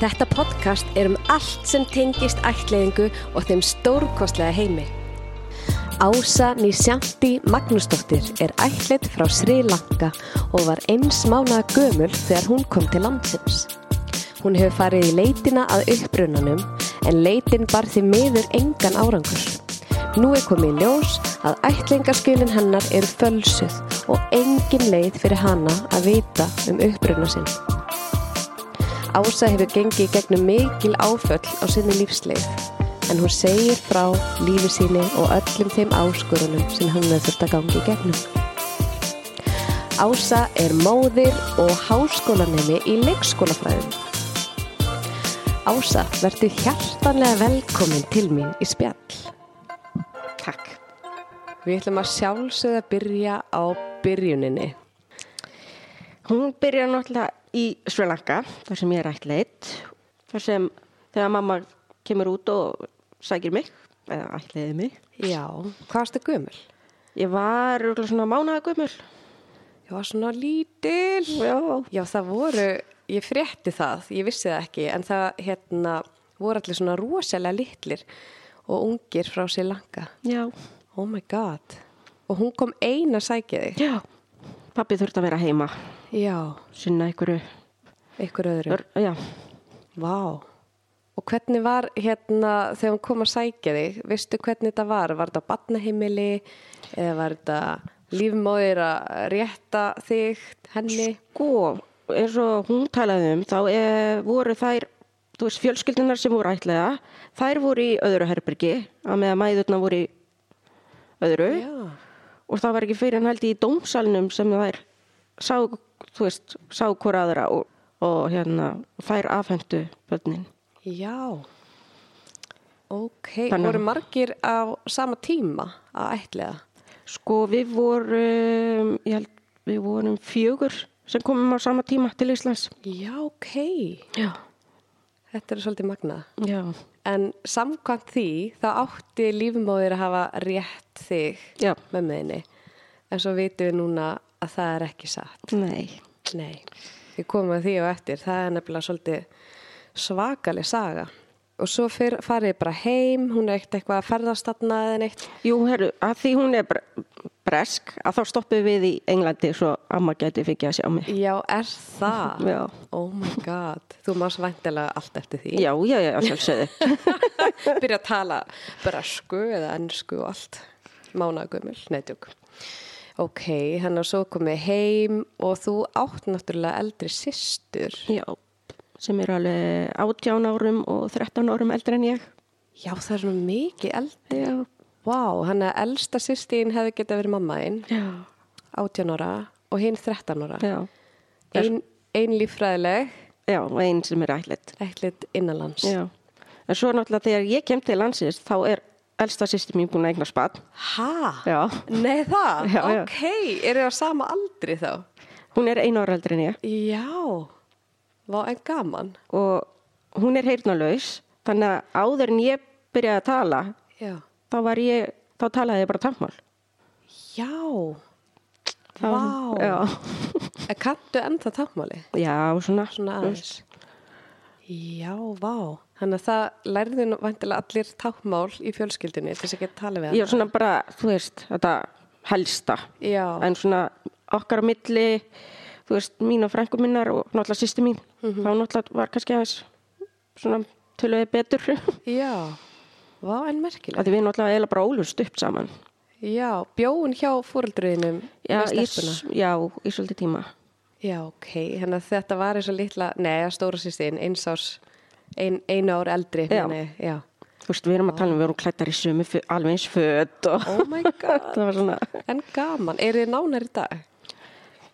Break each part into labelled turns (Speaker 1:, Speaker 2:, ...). Speaker 1: Þetta podcast er um allt sem tengist ættleiðingu og þeim stórkostlega heimi. Ása Nýsjanti Magnúsdóttir er ættleitt frá Sri Lanka og var eins mánaða gömul þegar hún kom til landsins. Hún hefur farið í leitina að upprunanum en leitin bar því miður engan árangur. Nú er komið í ljós að ættleiðingarskunin hennar eru fölsuð og engin leið fyrir hana að vita um uppruna sinn. Ása hefur gengið í gegnum mikil áföll á sinni lífsleif en hún segir frá lífi síni og öllum þeim áskorunum sem hann hefur þurft að gangi í gegnum. Ása er móðir og háskólanemi í leikskólafræðum. Ása, verðu hjartanlega velkomin til mín í spjall. Takk. Við ætlum að sjálfsögða byrja á byrjuninni.
Speaker 2: Hún byrjar náttúrulega í Sri Lanka, þar sem ég er ættleitt, þar sem þegar mamma kemur út og sækir mig, eða ættleiði mig.
Speaker 1: Já, hvað varstu gömul?
Speaker 2: Ég var örugglega svona mánaða gömul.
Speaker 1: Ég var svona lítil.
Speaker 2: Já,
Speaker 1: Já, það voru, ég frétti það, ég vissi það ekki, en það hérna, voru allir svona rosalega litlir og ungir frá Sri Lanka.
Speaker 2: já,
Speaker 1: Oh my god. Og hún kom eina sækið þig.
Speaker 2: já. Pappi þurfti að vera heima,
Speaker 1: Já,
Speaker 2: sinna einhverju.
Speaker 1: ykkur öðru.
Speaker 2: Ör, já,
Speaker 1: Vá. Og hvernig var hérna, þegar hún kom að sækja þig, veistu hvernig þetta var? Var þetta á batnaheimili eða var þetta lífmóðir að rétta þig, henni?
Speaker 2: sko, eins og hún talaði um, þá e, voru þær, þú veist, fjölskyldunar sem voru ættleiða, þær voru í öðru herbergi, að með að mæðurna voru í öðru.
Speaker 1: Já.
Speaker 2: og það var ekki fyrir hann held ég í dómsalnum sem þær sá, þú veist, sá hver aðra og, og hérna, þær afhendu börnin.
Speaker 1: Já. Ok,
Speaker 2: Þannig-
Speaker 1: voru margir á sama tíma að ætliða?
Speaker 2: Sko við vorum, ég held, við vorum fjögur sem komum á sama tíma til Íslands.
Speaker 1: Já, ok.
Speaker 2: Já.
Speaker 1: Þetta er svolítið magnað.
Speaker 2: Já.
Speaker 1: En samkvæmt því þá átti lífumóðir að hafa rétt þig
Speaker 2: Já.
Speaker 1: mömmuðinni. En svo vitum við núna að það er ekki satt.
Speaker 2: Nei.
Speaker 1: Nei, við komum að því og eftir. Það er nefnilega svolítið svakaleg saga. Og svo fyr, farið bara heim, hún er ekkert eitthvað að ferðast þarna eða neitt.
Speaker 2: Jú, herru, að því hún er bre- bresk, að þá stoppum við í Englandi svo amma gæti fikið að sjá mig.
Speaker 1: Já, er það?
Speaker 2: Já.
Speaker 1: Oh my god, þú mást væntilega allt eftir því.
Speaker 2: Já, já, já, sjálfsögðu.
Speaker 1: Byrja að tala brasku eða ennsku og allt. Mánagumil, neðjúk. Ok, hann og svo komið heim og þú átt náttúrulega eldri systur.
Speaker 2: já, sem er alveg 18 árum og 13 árum eldri en ég.
Speaker 1: Já, það er svona mikið eldri.
Speaker 2: Já.
Speaker 1: Vá, hann að elsta sýstín hefði getað verið mammaðinn,
Speaker 2: Já.
Speaker 1: 18 ára og hinn 13 ára.
Speaker 2: Já,
Speaker 1: Ein, ein líffræðileg,
Speaker 2: já og einn sem er ætlitt.
Speaker 1: ekkert innanlands.
Speaker 2: Já. En svo náttúrulega þegar ég kem til landsins þá er elsta sýstir mín búin að eigna spatt.
Speaker 1: Ha?
Speaker 2: Já.
Speaker 1: Nei það?
Speaker 2: Já, já.
Speaker 1: ok, eru það sama aldri þá?
Speaker 2: Hún er einu ára eldri en ég
Speaker 1: Já, vá en gaman.
Speaker 2: og hún er heyrnalaus. Þannig að áður en ég byrjaði að tala
Speaker 1: Já.
Speaker 2: þá var ég, þá talaði ég bara tammál.
Speaker 1: Já,
Speaker 2: Þá,
Speaker 1: Vá.
Speaker 2: Já.
Speaker 1: en kanntu ennþá támáli?
Speaker 2: Já, svona.
Speaker 1: Svona aðeins. Já, vá. Þannig að það lærðu nú væntilega allir támál í fjölskyldinni til þess að geta talað við
Speaker 2: Ég er svona bara, þú veist, þetta helsta.
Speaker 1: Já,
Speaker 2: En svona okkar á milli, þú veist, mín og frængu minnar og náttúrulega sýsti mín.
Speaker 1: Mhm.
Speaker 2: Þá náttúrulega var kannski aðeins svona tölöði betur.
Speaker 1: já. Vá en merkileg.
Speaker 2: að því við náttúrulega eiginlega bara ólust upp saman
Speaker 1: Já, bjóun hjá fóreldruðinum
Speaker 2: já,
Speaker 1: með
Speaker 2: í,
Speaker 1: stelpuna.
Speaker 2: já, í svolítið tíma
Speaker 1: Já, ok. Þannig að þetta var eins og litla, neða, stóra sýstin, eins árs, ein, einu ár eldri.
Speaker 2: Já.
Speaker 1: meina ég, já.
Speaker 2: þú veist, við erum að tala um við erum klættar í sömu fö- alveg eins föt og
Speaker 1: Oh my god.
Speaker 2: það var svona,
Speaker 1: en gaman. Eru þið nánar í dag?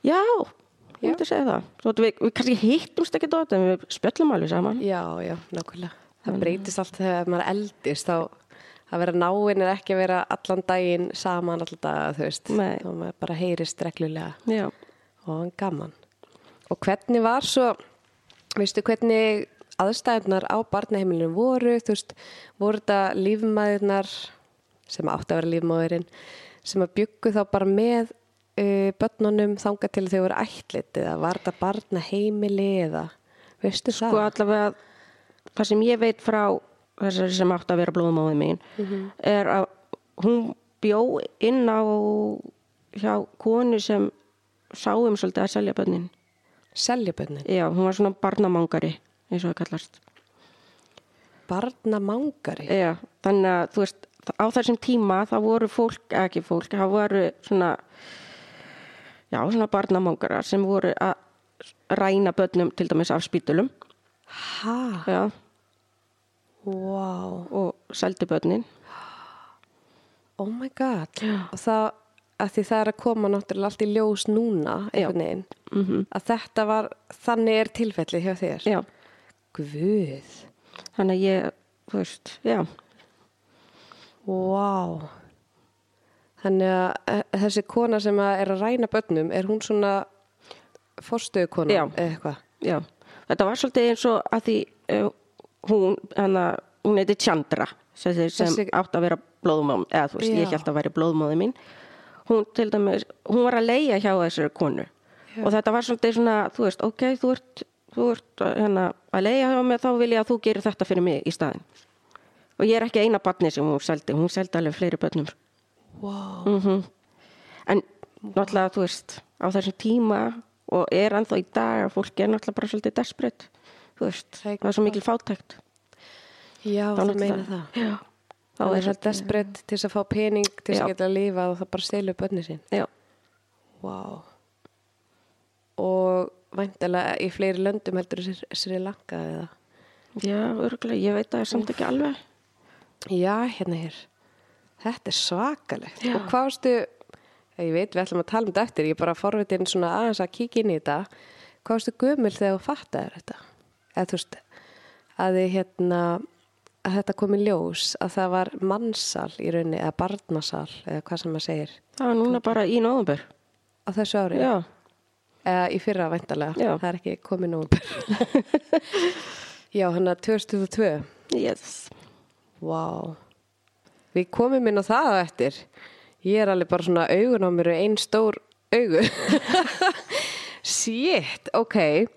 Speaker 2: já, ég myndi að segja það Svo, við, við kannski hittumst ekki dótt en við spjöllum alveg saman
Speaker 1: Já, já, nákvæmlega. Það breytist allt þegar maður eldist þá að vera náinn er ekki að vera allan daginn saman allan dag, þú veist.
Speaker 2: Nei.
Speaker 1: Þá maður bara heyrist reglulega
Speaker 2: já,
Speaker 1: og hann gaman. Og hvernig var svo, veistu, hvernig aðstæðunar á barnaheimilinu voru, þú veist, voru þetta lífmaðurnar sem átti að vera lífmaðurinn sem að byggu þá bara með uh, börnunum þanga til þau voru ætlit eða var þetta barnaheimili eða, veistu
Speaker 2: og
Speaker 1: það?
Speaker 2: Sko, allavega það sem ég veit frá þessari sem átt að vera blóðmáðið mín er að hún bjó inn á hjá konu sem sáum svolítið að selja bönnin
Speaker 1: Selja bönnin.
Speaker 2: já, hún var svona barnamangari eins og það kallast
Speaker 1: Barnamangari.
Speaker 2: já, þannig að þú veist á þessum tíma þá voru fólk, eða ekki fólk þá voru svona já, svona barnamangarar sem voru að ræna börnum til dæmis af spítulum
Speaker 1: Ha?
Speaker 2: já,
Speaker 1: Wow.
Speaker 2: og seldu börnin
Speaker 1: Oh my god. Og það, að því það er að koma náttúrulega allt í ljós núna, einhvern veginn. -hmm. Að þetta var, þannig er tilfellið hjá þér.
Speaker 2: Mhm. já,
Speaker 1: Guð.
Speaker 2: þannig að ég, þú veist, já
Speaker 1: Wow. Þannig að eh, þessi kona sem að er að ræna börnum, er hún svona forstöðu kona?
Speaker 2: Já.
Speaker 1: Eitthvað.
Speaker 2: Já, þetta var svolítið eins og að því uh, hún, hana, hún heiti Chandra sem, sem
Speaker 1: Þessi-
Speaker 2: átt að vera blóðmáð eða þú veist,
Speaker 1: Já.
Speaker 2: ég held að væri blóðmáði mín hún til dæmis, hún var að leigja hjá þessari konu og þetta var svolítið svona, þú veist, ok, þú ert þú ert uh, hérna, að leigja hjá mig þá vil ég að þú gerir þetta fyrir mig í staðinn og ég er ekki eina barni sem hún seldi hún seldi alveg fleiri börnum
Speaker 1: Wow.
Speaker 2: Mhm. en náttúrulega, þú veist, á þessum tíma og er ennþá í dag að fólk er náttúrulega bara svolítið desperate þú veist,
Speaker 1: Það er
Speaker 2: það er svo mikil fátækt
Speaker 1: Já,
Speaker 2: Þá
Speaker 1: það
Speaker 2: náttúrulega-
Speaker 1: meina það.
Speaker 2: Já, þá
Speaker 1: Það
Speaker 2: er
Speaker 1: er það
Speaker 2: svolítið
Speaker 1: desperate til þess að fá pening til þess að
Speaker 2: Já.
Speaker 1: geta að lifa og það bara stelur börnir sín.
Speaker 2: Já,
Speaker 1: Vá. Og væntalega í fleiri löndum heldur sér, sér langa eða.
Speaker 2: já örgulega, ég veit að það er samt ekki alveg
Speaker 1: Já, hérna hér. Þetta er svakalegt.
Speaker 2: Já.
Speaker 1: Og hvað varstu, ég veit við ætlum að tala um þetta eftir, ég er bara forvitin svona aðeins að kíkja inn í þetta. Hvað varstu gömul þegar þú fattaðir þetta? Eða þú veist, að þið hérna, að þetta kom í ljós, að það var mannsal í rauninni, eða barnasal, eða hvað sem maður segir,
Speaker 2: Það er núna bara í nóðumbur
Speaker 1: á þessu ári.
Speaker 2: Já,
Speaker 1: Eða í fyrra væntalega,
Speaker 2: Já.
Speaker 1: það er ekki komið nú. Já, hann að 2002.
Speaker 2: yes
Speaker 1: Vá. Við komum inn á það á eftir. Ég er alveg bara svona augun á mér og einn stór augu. Shit, ok.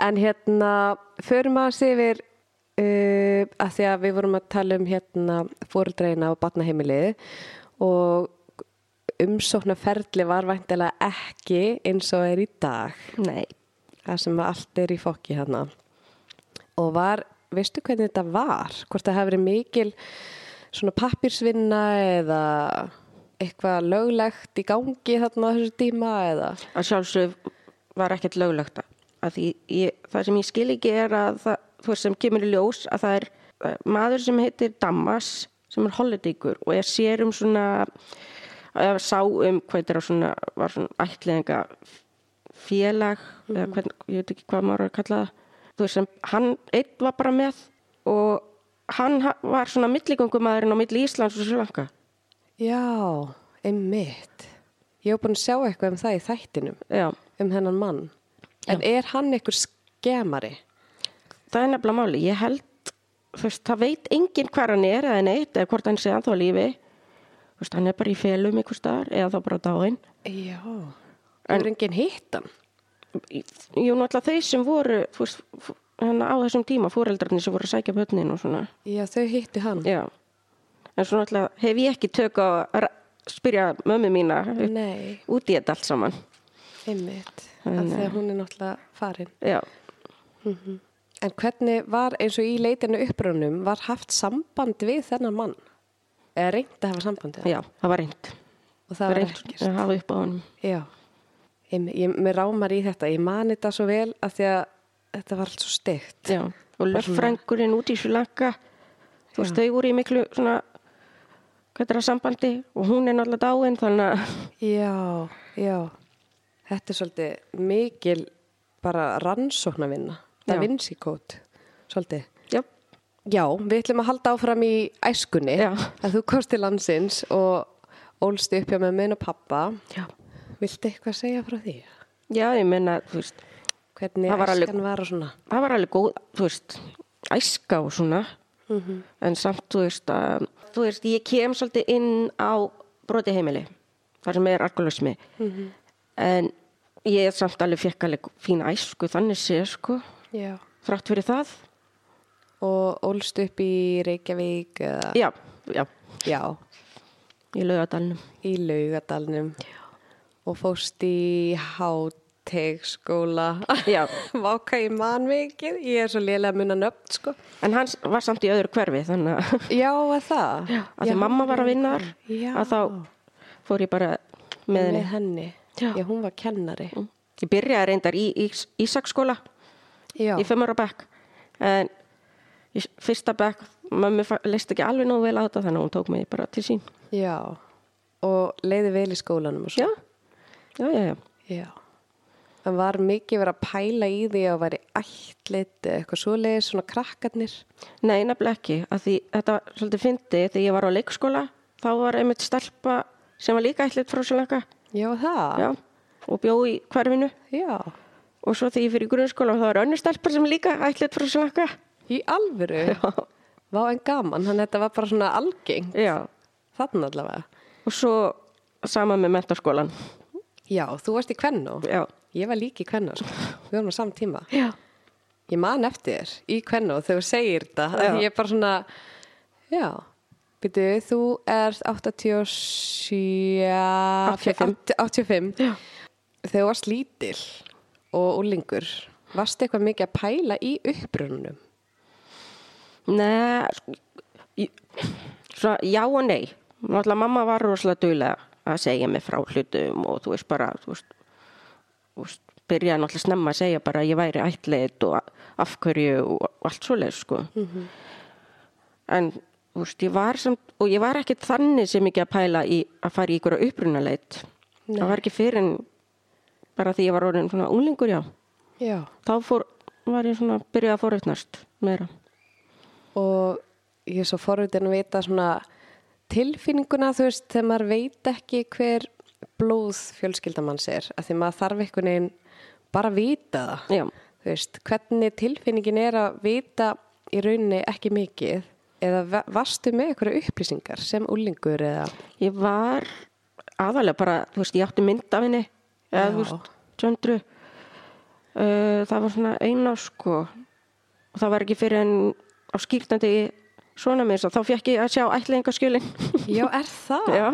Speaker 1: En hérna, förum að sé yfir uh, að því að við vorum að tala um hérna fóreldreina og batnaheimilið og umsóknarferli var væntilega ekki eins og er í dag
Speaker 2: Nei,
Speaker 1: það sem allt er í fokki hérna og var, veistu hvernig þetta var hvort það hafi verið mikil svona pappirsvinna eða eitthvað löglegt í gangi þarna á þessu tíma eða
Speaker 2: að sjálfsög var ekkert löglegt að- að því ég, það sem ég skil ekki er að það, þú veist sem kemur í ljós að það er eh, maður sem heitir Damas sem er hollidíkur og ég sér um svona eða sá um hvað þetta er svona var svona ætliðinga félag eða hvern, ég veit ekki hvað maður er að kalla það þú veist sem hann einn var bara með og hann ha- var svona milligöngumæðurinn á milli Íslands og Sjölanka
Speaker 1: já, einmitt ég hef búin að sjá eitthvað um það í þættinum
Speaker 2: já
Speaker 1: um hennan mann en er hann einhver skemari
Speaker 2: Það er nefnilega máli. Ég held, þú veist, það veit enginn hver hann er eða neitt eða hvort hann sé anþá lífi. Þú veist, hann er bara í felum ykkur staðar eða þá bara dáinn.
Speaker 1: já en er enginn hittan
Speaker 2: Í- Jú, náttúrulega þeir sem voru, þú veist, f- hérna á þessum tíma, fóreldrarnir sem voru að sækja börnin og svona.
Speaker 1: já, þau hittu hann
Speaker 2: Já. En svo náttúrulega hef ég ekki tök á að ra- spyrja mömmu mína upp-
Speaker 1: nei,
Speaker 2: út í þetta allt saman.
Speaker 1: einmitt af því að hún er náttúrulega farin
Speaker 2: Já.
Speaker 1: En hvernig var eins og í leitinu uppröðunum, var haft samband við þennan mann? Eða reyndi að hafa samband við hann?
Speaker 2: Já, það var reynd.
Speaker 1: Og það var
Speaker 2: reynt
Speaker 1: ekkert.
Speaker 2: að hafa upp á honum.
Speaker 1: Já. Ég, ég, mér rámar í þetta, ég mani þetta svo vel af því að þetta var allt svo steikt.
Speaker 2: Já, og löffrængurinn út í Sjölanka þú veist, þau voru í miklu svona hvað er að sambandi og hún er náttúrulega dáin þannig að
Speaker 1: Já, já. Þetta er svolítið mikil bara rannsóknarvinna.
Speaker 2: Já.
Speaker 1: Það vinsi kót, svolítið.
Speaker 2: já,
Speaker 1: Já, við ætlum að halda áfram í æskunni
Speaker 2: Já.
Speaker 1: að þú kosti landsins og ólst upp hjá með mun og pappa.
Speaker 2: já.
Speaker 1: Viltu eitthvað segja frá því?
Speaker 2: já ég menna, þú veist
Speaker 1: Hvernig
Speaker 2: Það var alveg-
Speaker 1: æskan var og svona?
Speaker 2: það var alveg góð, þú veist æska og svona en samt, þú veist, að, þú veist ég kem svolítið inn á broti heimili, þar sem er alkoholismi Mhm. en ég samt alveg fekk alveg fína æsku þannig sé, sko,
Speaker 1: Já.
Speaker 2: þrátt fyrir það
Speaker 1: og ólst upp í Reykjavík eða,
Speaker 2: Já, já,
Speaker 1: já,
Speaker 2: í laugadalnum.
Speaker 1: í Laugadalnum og fóst í hátegskóla
Speaker 2: Já.
Speaker 1: váka í mann mikið ég er svo lélega að muna nöfn sko
Speaker 2: En hann var samt í öðru hverfi þannig að,
Speaker 1: já, að það
Speaker 2: að því mamma var að vinna þar
Speaker 1: Já.
Speaker 2: að þá fór ég bara með henni.
Speaker 1: með henni,
Speaker 2: Já. Mm.
Speaker 1: já, hún var kennari
Speaker 2: Ég byrjaði reyndar í, í Ísaksskóla
Speaker 1: já,
Speaker 2: í fimmara bekk en í fyrsta bekk mömmu fa- leist ekki alveg nógu vel á þetta þannig að hún tók mig bara til sín.
Speaker 1: já og leiði vel í skólanum og svo
Speaker 2: Já, já, já, já.
Speaker 1: Já. En var mikið verið að pæla í því að væri ættlit eða eitthvað svoleiðis, svona krakkarnir.
Speaker 2: Nei, nefnilega ekki, að því þetta var svolítið fyndið þegar ég var á leikskóla, þá var einmitt stelpa sem var líka ætlit frá Sjölanka,
Speaker 1: Já, það.
Speaker 2: já, og bjó í hverfinu
Speaker 1: Já.
Speaker 2: og svo þegar ég fyrir grunnskóla þá var önnur stelpa sem líka ætlit frá Sjölanka.
Speaker 1: Í alvöru. Já. Vá en gaman, þannig að þetta var bara svona algeng.
Speaker 2: Já,
Speaker 1: Þannig allavega.
Speaker 2: og svo sama með mentaskólan,
Speaker 1: Já, þú varst í Kvennó.
Speaker 2: já.
Speaker 1: Ég var líka í Kvennó, sko. Við varum á samt tíma.
Speaker 2: Já.
Speaker 1: Ég man eftir þér í Kvennó þegar þú segir þetta.
Speaker 2: Já.
Speaker 1: Því ég er bara svona, já. Býtu, þú ert 87...
Speaker 2: 85.
Speaker 1: 85. Já. Þegar þú varst lítil og úlingur, varst eitthvað mikið að pæla í upprununum?
Speaker 2: Nei, sko, ég- svona já og nei. Náttúrulega mamma var rosalega duðlega að segja mig frá hlutum og þú veist bara, þú veist, þú veist byrjaði náttúrulega snemma að segja bara að ég væri ætlit og af hverju og allt svoleið, sko. En, þú veist, ég var samt, og ég var ekkit þannig sem ekki að pæla í að fara í ykkur upprunaleit. Það var ekki fyrir en bara því ég var orðin svona unglingur, já.
Speaker 1: Já.
Speaker 2: Þá fór, var ég svona, byrjaði að fórutnast meira.
Speaker 1: Og ég er svo forvitin að vita svona tilfinninguna, þú veist, þegar maður veit ekki hver blóð fjölskyldamanns er, að því maður þarf einhvern veginn bara að vita það.
Speaker 2: Já.
Speaker 1: Þú veist, hvernig tilfinningin er að vita í rauninni ekki mikið eða va- varstu með einhverju upplýsingar sem úlingur eða...
Speaker 2: Ég var aðalega bara, þú veist, ég átti mynd af henni eða,
Speaker 1: Já.
Speaker 2: þú veist, tjöndru uh, það var svona eina sko og það var ekki fyrir en á skýrtandi svona með þess að þá fekk ég að sjá ætlingaskjölin
Speaker 1: Já, er það?
Speaker 2: Já,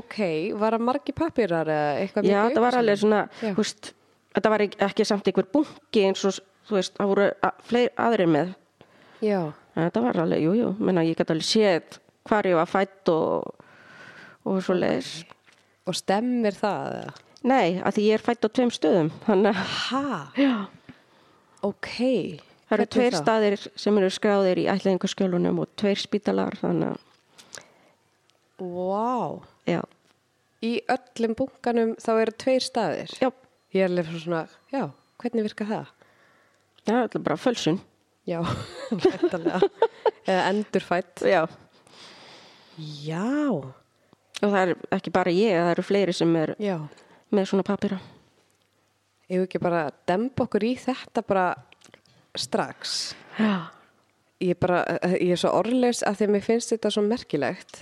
Speaker 1: Ok, var það margi pappirar eða eitthvað
Speaker 2: já það var alveg svona
Speaker 1: Já.
Speaker 2: þú veist, þetta var ekki, ekki samt einhver bunki eins og, þú veist, það voru að, fleiri aðrir með
Speaker 1: upplýsingar? Já,
Speaker 2: en þetta var alveg, jú, jú, menna ég gæti alveg séð hvar ég var fætt og, og svo leis
Speaker 1: og stemmir það eða?
Speaker 2: Nei, að því ég er fætt á tveim stöðum þannig að
Speaker 1: Ha?
Speaker 2: Já.
Speaker 1: Ok.
Speaker 2: Það eru
Speaker 1: Hvernig
Speaker 2: tveir
Speaker 1: þá?
Speaker 2: staðir sem eru skráðir í ætlaðingarskjölunum og tveir spítalar, þannig að,
Speaker 1: Vá.
Speaker 2: já,
Speaker 1: Í öllum bunkanum þá eru tveir staðir.
Speaker 2: já,
Speaker 1: Ég er alveg svona, já, hvernig virka það?
Speaker 2: já, þetta er bara fölsun.
Speaker 1: Já, væntanlega. Eða endurfætt.
Speaker 2: Já.
Speaker 1: Já.
Speaker 2: Og það er ekki bara ég, það eru fleiri sem er
Speaker 1: Já.
Speaker 2: með svona papýra.
Speaker 1: Ég ekki bara að demba okkur í þetta bara strax.
Speaker 2: Já.
Speaker 1: Ég, bara, eh, ég er svo orðleis að því að mér finnst þetta svo merkilegt.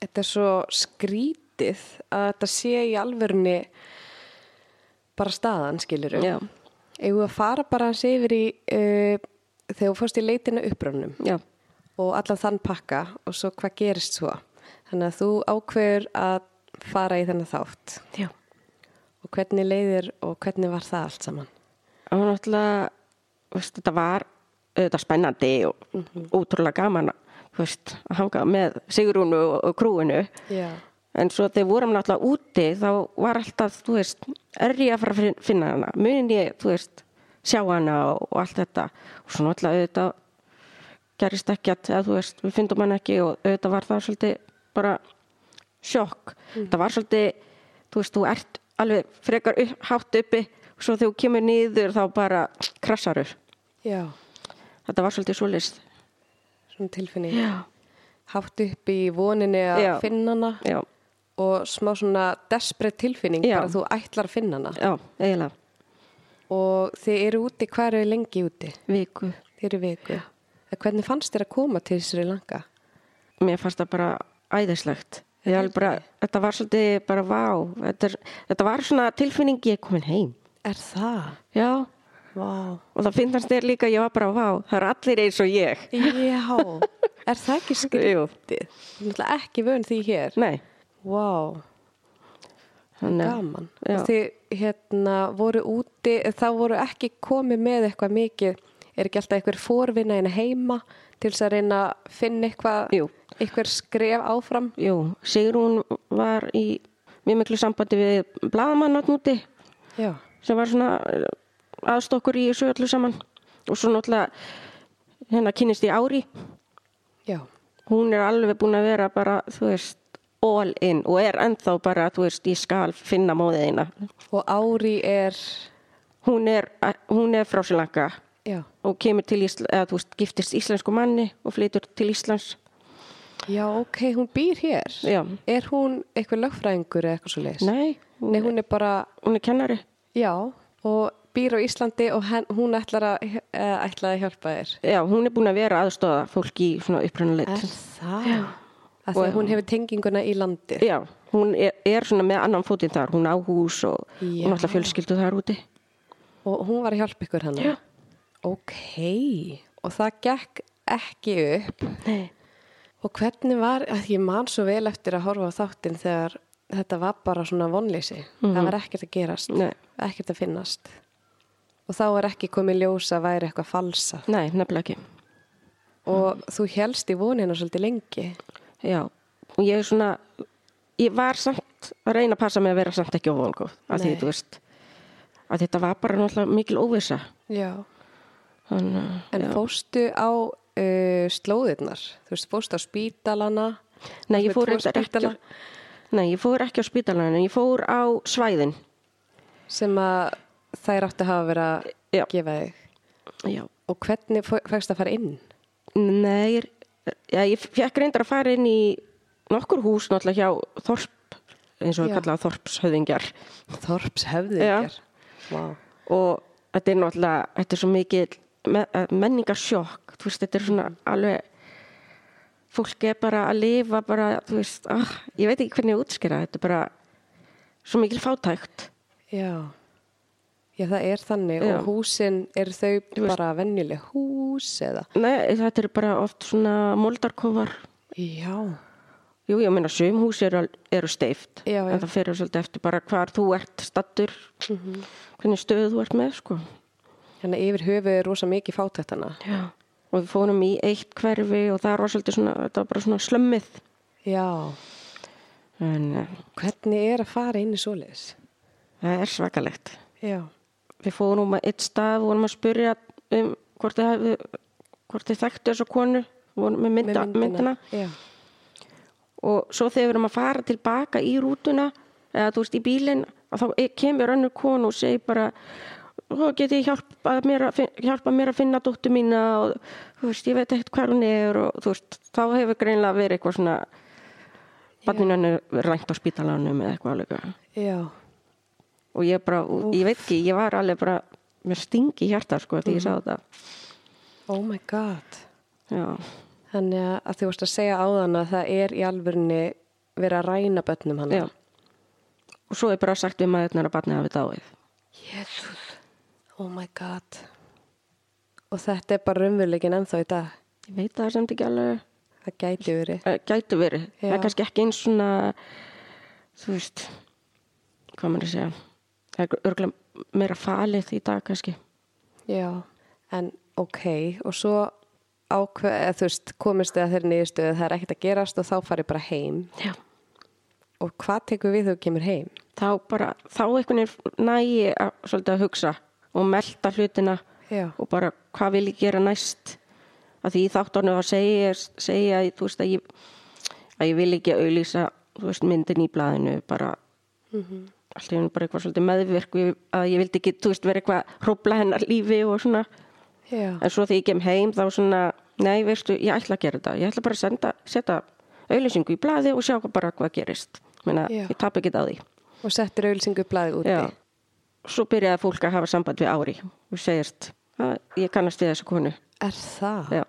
Speaker 1: Þetta er svo skrítið að þetta sé í alvörunni bara staðan, skilur
Speaker 2: Já.
Speaker 1: Eigum við að fara bara hans yfir í uh, þegar þú fórst í leitina upprönnum
Speaker 2: Já,
Speaker 1: og allan þann pakka og svo hvað gerist svo. Þannig að þú ákveður að fara í þennan þátt
Speaker 2: já.
Speaker 1: og hvernig leiðir og hvernig var það allt saman.
Speaker 2: Það var náttúrulega, veist, þetta var auðvitað spennandi og ótrúlega gaman að, þú veist, að hanga með Sigrúnu og, og krúinu.
Speaker 1: Já.
Speaker 2: En svo þegar vorum náttúrulega úti þá var alltaf, þú veist, er ég að fara að fin- finna hana, munin ég, þú veist, sjá hana og, og allt þetta. Og svo náttúrulega auðvitað gerist ekki að, eða, þú veist, við fyndum hana ekki og auðvitað var það svolítið bara sjokk. Það var svolítið, þú veist, þú ert alveg frekar upp, hátt uppi og svo þegar þú kemur niður þá bara krassarur.
Speaker 1: Já.
Speaker 2: Þetta var svolítið svolítið.
Speaker 1: Svona tilfinning. Hátt upp í voninni að
Speaker 2: Já.
Speaker 1: finna hana
Speaker 2: Já,
Speaker 1: og smá svona desperate tilfinning
Speaker 2: Já.
Speaker 1: bara þú ætlar að finna hana.
Speaker 2: já, eiginlega.
Speaker 1: Og þið eru úti, hvað eru þið lengi úti?
Speaker 2: Viku.
Speaker 1: Þið eru í viku. En Hvernig fannst þér að koma til Sri Lanka?
Speaker 2: mér fannst það bara æðislegt Ég alveg bara, þetta var svolítið bara vá þetta, er, þetta var svona tilfinning ég er komin heim
Speaker 1: Er það?
Speaker 2: já,
Speaker 1: Vá.
Speaker 2: og það finnast þér líka, ég var bara vá, það eru allir eins og ég
Speaker 1: Já, er það ekki
Speaker 2: Jú.
Speaker 1: skrítið? Ég er náttúrulega ekki vön því hér.
Speaker 2: nei,
Speaker 1: Vá,
Speaker 2: þannig að-
Speaker 1: gaman.
Speaker 2: Já.
Speaker 1: Og Þið hérna voru úti, þá voru ekki komið með eitthvað mikið, er ekki alltaf einhver fórvinna hérna heima til þess að reyna að finna eitthvað,
Speaker 2: Jú.
Speaker 1: einhver skref áfram?
Speaker 2: jú, Sigrún var í mjög miklu sambandi við blaðamann átn úti
Speaker 1: Já.
Speaker 2: sem var svona aðstokkur í þessu öllu saman og svo náttúrulega hérna kynist í ári
Speaker 1: Já,
Speaker 2: hún er alveg búin að vera bara, þú veist all in og er ennþá bara, þú veist, ég skal finna móðiðina.
Speaker 1: og Ári er,
Speaker 2: Hún er, hún er frá Sri Lanka
Speaker 1: já,
Speaker 2: og kemur til Íslands, eða þú veist, giftist íslensku manni og flytur til Íslands.
Speaker 1: já, ok, hún býr hér.
Speaker 2: Já.
Speaker 1: Er hún eitthvað lögfræðingur eða eitthvað svo leiðis?
Speaker 2: Nei,
Speaker 1: Nei, hún er bara
Speaker 2: hún er kennari.
Speaker 1: Já, og býr á Íslandi og henn, hún ætlar að, uh, ætlar að hjálpa þér.
Speaker 2: Já, hún er búin að vera aðstofa fólk í svona upprunaleit.
Speaker 1: það? Já. Af því að hún hefur tenginguna í landi.
Speaker 2: Já, hún er, er svona með annan fótinn þar, hún á hús og
Speaker 1: Já.
Speaker 2: hún alltaf fjölskyldu þar úti.
Speaker 1: Og hún var að hjálpa ykkur hann.
Speaker 2: Já.
Speaker 1: Ok, og það gekk ekki upp.
Speaker 2: Nei.
Speaker 1: Og hvernig var, að ég man svo vel eftir að horfa á þáttinn þegar þetta var bara svona vonlýsi. Það var ekkert að gerast,
Speaker 2: Mhm. Nei.
Speaker 1: ekkert að finnast. Og þá var ekki komið ljósa að væri eitthvað falsa.
Speaker 2: Nei, nefnilega ekki. Mm.
Speaker 1: Og þú helst í vonina svolítið lengi.
Speaker 2: Já, og ég er svona, ég var samt að reyna að passa mig að vera samt ekki óvongóð. Af því,
Speaker 1: Nei.
Speaker 2: þú veist, að þetta var bara náttúrulega mikil óvisa.
Speaker 1: Já.
Speaker 2: Þannig, að-
Speaker 1: En fórstu á uh, slóðirnar? Þú veist, fórstu á spítalana?
Speaker 2: Nei,
Speaker 1: Þú
Speaker 2: ég
Speaker 1: ert
Speaker 2: fór
Speaker 1: með
Speaker 2: reyndar
Speaker 1: tvo
Speaker 2: ekki á,
Speaker 1: spítala
Speaker 2: nei, ég fór ekki á spítalana, ég fór á svæðin.
Speaker 1: Sem að þær áttu að hafa verið að
Speaker 2: Já.
Speaker 1: gefa þig.
Speaker 2: Já.
Speaker 1: Og hvernig fækst að fara inn?
Speaker 2: Nei, ég- já, ég fekk reyndar að fara inn í nokkur hús náttúrulega hjá Þorp, eins og
Speaker 1: Já.
Speaker 2: við kallaða Þorpshöðingjar.
Speaker 1: Þorps höfðingjar. Vá.
Speaker 2: Og þetta er náttúrulega, þetta er svo mikið me, eh, menningarsjokk, þú veist, þetta er svona alveg, fólk er bara að lifa bara, þú veist, ah, ég veit ekki hvernig ég á að útskýra, þetta er bara svo mikil fátækt.
Speaker 1: Já. Já, það er þannig.
Speaker 2: Já.
Speaker 1: Og húsin, eru þau
Speaker 2: veist-
Speaker 1: bara venjuleg hús eða?
Speaker 2: Nei, þetta eru bara oft svona moldarkofar.
Speaker 1: Já.
Speaker 2: Jú, ég meina sum hús eru, al- eru steift
Speaker 1: Já, já.
Speaker 2: en það fyrir svolítið eftir bara hvar þú ert stattur, Mhm. hvernig stöðu þú ert með sko.
Speaker 1: Þannig að Hérna yfir höfu er rosa mikið fátættana.
Speaker 2: Já. Og við fórum í eitt hverfi og það var svolítið svona, þetta var bara svona slömmið.
Speaker 1: Já.
Speaker 2: En eh,
Speaker 1: Hvernig er að fara inn í svoleiðis?
Speaker 2: það er svakalegt.
Speaker 1: Já.
Speaker 2: Við fórum að eitt stað, vorum að spyrja um hvort þið, hefði, hvort þið þekktu þessu konu, vorum með,
Speaker 1: Með
Speaker 2: mynda, myndina.
Speaker 1: Já.
Speaker 2: Og svo þegar við erum að fara tilbaka í rútuna, eða þú veist í bílinn, að þá e- kemur önnur konu og segir bara, þá geti ég hjálpað mér, að fin- hjálpað mér að finna dóttu mína og þú veist, ég veit ekkert hver hún er og þú veist, þá hefur greinlega verið eitthvað svona, barninu henni verið rænt á spítalanum eða eitthvað alveg.
Speaker 1: Já.
Speaker 2: Og ég bara, og ég veit ekki, ég var alveg bara, mér stingi hjarta sko því ég sá þetta.
Speaker 1: Oh my god.
Speaker 2: Já,
Speaker 1: Þannig að- að þú varst að segja áðan að það er í alvörni verið að ræna börnum hann.
Speaker 2: já. Og svo er bara sagt við maðurnar að barnið hafi dáið.
Speaker 1: Jésús. Oh my god. Og þetta er bara raunveruleikin ennþá í dag.
Speaker 2: Ég veit það samt ekki alveg.
Speaker 1: Það gæti verið.
Speaker 2: Eh, gætu verið, það
Speaker 1: Já.
Speaker 2: er kannski ekki eins svona þú veist hvað maður að segja það er örgulega meira falið í dag kannski
Speaker 1: Já. En ok, og svo ákveð, eða þú veist, komist þið að þeirri niðurstöðu að það er ekkert að gerast og þá farið bara heim.
Speaker 2: Já.
Speaker 1: Og hvað tekur við þegar þú kemur heim?
Speaker 2: þá bara, þá einhvern veginn nægi að, svolítið að hugsa og melta hlutina
Speaker 1: Já.
Speaker 2: og bara hvað vil ég gera næst að því í þáttornu að segja, segja að, þú veist að ég að ég vil ekki auðlýsa þú veist myndin í blaðinu bara
Speaker 1: Mhm.
Speaker 2: allt í hennu bara eitthvað svolítið meðvirk við- að ég vildi ekki, þú veist, vera eitthvað hrópla hennar lífi og svona
Speaker 1: Já.
Speaker 2: En svo þegar ég kem heim þá svona, nei veistu, ég ætla að gera þetta. Ég ætla bara að senda, setja auðlýsingu í blaði og sjá bara hvað gerist. Meina,
Speaker 1: Já.
Speaker 2: ég tap ekki á því.
Speaker 1: Og settir auðlýsingu blæði úti.
Speaker 2: Já. Svo byrjaði fólk að hafa samband við ári og segist, "Ha, ég kannast við þessu konu.
Speaker 1: Er það?
Speaker 2: Já.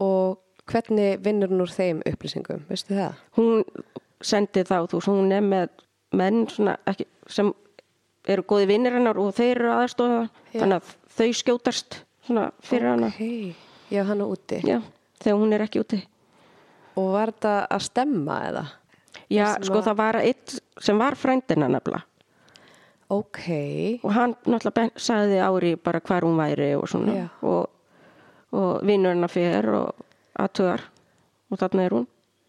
Speaker 1: Og hvernig vinnur hún úr þeim upplýsingum? Veistu það?
Speaker 2: Hún sendi þá, þú veist, hún er með menn svona, ekki, sem eru góði vinnir hennar og þeir eru aðstofa
Speaker 1: Já.
Speaker 2: þannig að þau skjótast svona fyrir hana
Speaker 1: Ókei. Já, hann er úti.
Speaker 2: Já, þegar hún er ekki úti
Speaker 1: Og var þetta að stemma eða?
Speaker 2: Já,
Speaker 1: Sem
Speaker 2: sko
Speaker 1: að-
Speaker 2: það var eitt sem var frændina nefnilega
Speaker 1: Ok.
Speaker 2: og hann náttúrulega ben, sagði ári bara hvar hún væri og svona
Speaker 1: Já.
Speaker 2: og, og vinnur hennar fyrir og aðtöðar og þarna er hún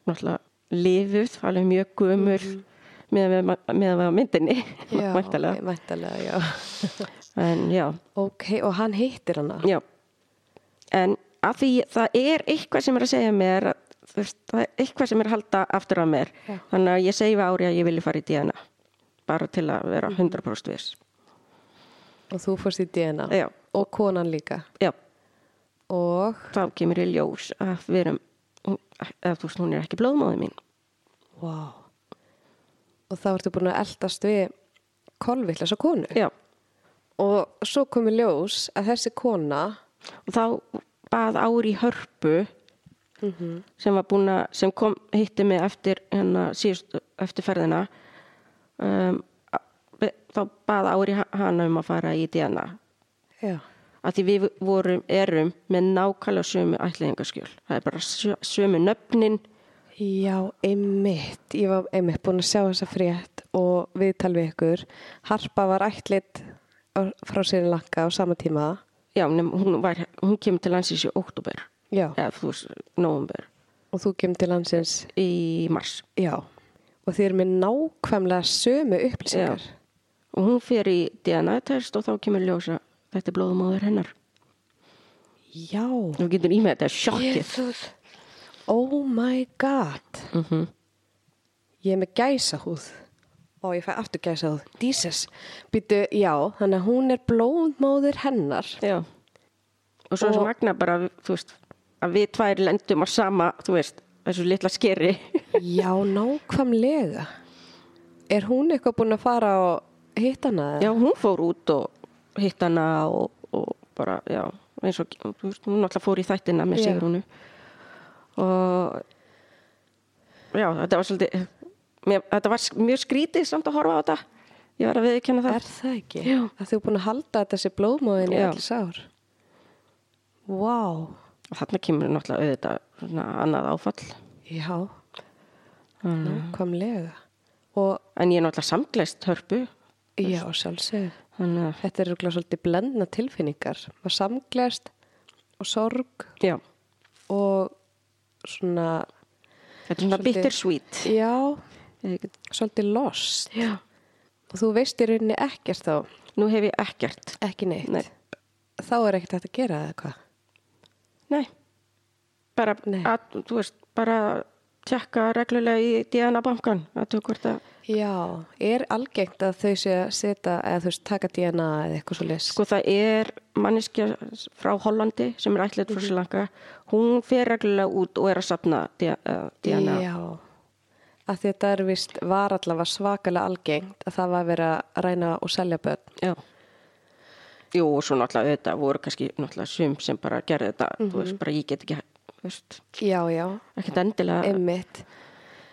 Speaker 2: náttúrulega lifuð, alveg mjög gömul mm. meðan við, meðan við á myndinni
Speaker 1: Mhm. Já,
Speaker 2: væntanlega.
Speaker 1: ok, Væntalega, já.
Speaker 2: en já,
Speaker 1: ok, og hann hittir hana.
Speaker 2: já en að því það er eitthvað sem er að segja mér að, þú veist, það er eitthvað sem er að halda aftur af mér
Speaker 1: Já.
Speaker 2: þannig að ég segi við ári að ég vilji fara í DNA bara til að
Speaker 1: Mhm.
Speaker 2: vera 100% viss
Speaker 1: Og þú fórst í DNA.
Speaker 2: Já.
Speaker 1: Og konan líka.
Speaker 2: já,
Speaker 1: Og,
Speaker 2: þá kemur í ljós að við erum að þú veist, hún er ekki blóðmáði mín
Speaker 1: wow. Og þá ertu búin að eldast við kolvillasa konu.
Speaker 2: já,
Speaker 1: Og svo komi ljós að þessi kona,
Speaker 2: og þá bað Ári Hörpu sem var búin að, sem kom hitti mig eftir hérna síðust, eftir ferðina um, a- be- þá bað Ári ha- hana um að fara í DNA
Speaker 1: já,
Speaker 2: að því við vorum, erum með nákvæmlega sömu ætliðingaskjöl það er bara sö- sömu nöfnin
Speaker 1: Já, einmitt. Ég var einmitt búin að sjá þessa frétt og viðtal við ykkur. Harpa var ætlit á- frá sérin lakka á sama tíma.
Speaker 2: já, nefn, hún, var, hún kemur til landsins í óttúber
Speaker 1: Já.
Speaker 2: eða þú veist, nóvumber
Speaker 1: Og þú kemur til landsins.
Speaker 2: í mars
Speaker 1: Já. Og þið eru með nákvæmlega sömu upplýsingar.
Speaker 2: Já. Og hún fer í DNA-test og þá kemur ljósa þetta er blóðumóður hennar.
Speaker 1: Já.
Speaker 2: Þú getur ímið þetta sjokkið.
Speaker 1: Jesús. Oh my god.
Speaker 2: Mm
Speaker 1: Ég er með gæsahúð. Ó, ég fæ aftur gæsahúð. Jesus. Býtu, já, þannig að hún er blóðmóðir hennar.
Speaker 2: Já. Og svo er svo
Speaker 1: Og-
Speaker 2: magna bara, þú veist, að við tvær lendum á sama, þú veist, þessu litla skeri.
Speaker 1: Já, nákvæmlega. Er hún eitthvað búin að fara og hitta hana? eða?
Speaker 2: já, hún fór út og hitt hana og, og bara, já, eins og, þú veist, hún alltaf fór í þættina með
Speaker 1: Já.
Speaker 2: Sigrúnu. Og, já, þetta var svolítið, mér, þetta var sk- mjög skrítið samt að horfa á þetta. Ég var að viðkjanna það.
Speaker 1: Er það ekki?
Speaker 2: Já.
Speaker 1: Að þú er búin að halda þetta sér blóðmóðin í
Speaker 2: Já.
Speaker 1: alls ár? Vá, wow.
Speaker 2: Og þarna kemur náttúrulega auðvitað svona annað áfall.
Speaker 1: já, nákvæmlega. Og
Speaker 2: En ég er náttúrulega samglæst hörpu.
Speaker 1: já, sjálfsög,
Speaker 2: Þannig að,
Speaker 1: þetta eru örugglega svolítið blendna tilfinningar. Var samglest og sorg
Speaker 2: já,
Speaker 1: og svona,
Speaker 2: þetta er svona
Speaker 1: Svolítið-
Speaker 2: bittersweet.
Speaker 1: já,
Speaker 2: Ég-
Speaker 1: svolítið lost.
Speaker 2: Já.
Speaker 1: Og þú veist í rauninni ekkert þá,
Speaker 2: Nú hef ég ekkert.
Speaker 1: ekki neitt.
Speaker 2: Nei.
Speaker 1: Þá er ekkert hægt að gera eða hvað?
Speaker 2: Nei. Bara,
Speaker 1: Nei.
Speaker 2: Að, þú veist, bara tjekka reglulega í DNA-bankan. Að þú hvort að,
Speaker 1: Já, er algengt að þau sé að setja eða þú veist taka DNA eða eitthvað svo les
Speaker 2: sko það er manneskja frá Hollandi sem er ætlaðið
Speaker 1: Mhm.
Speaker 2: frá Sjölanka. Hún fer reglulega út og er að sapna DNA.
Speaker 1: Já, að þetta er vist var allavega svakalega algengt að það var verið að ræna og selja börn
Speaker 2: Já. Jú, og svo náttúrulega þetta voru kannski náttúrulega sum sem bara gerði þetta, þú veist, bara ég get ekki, þú veist,
Speaker 1: Já, já,
Speaker 2: ekkert endilega
Speaker 1: einmitt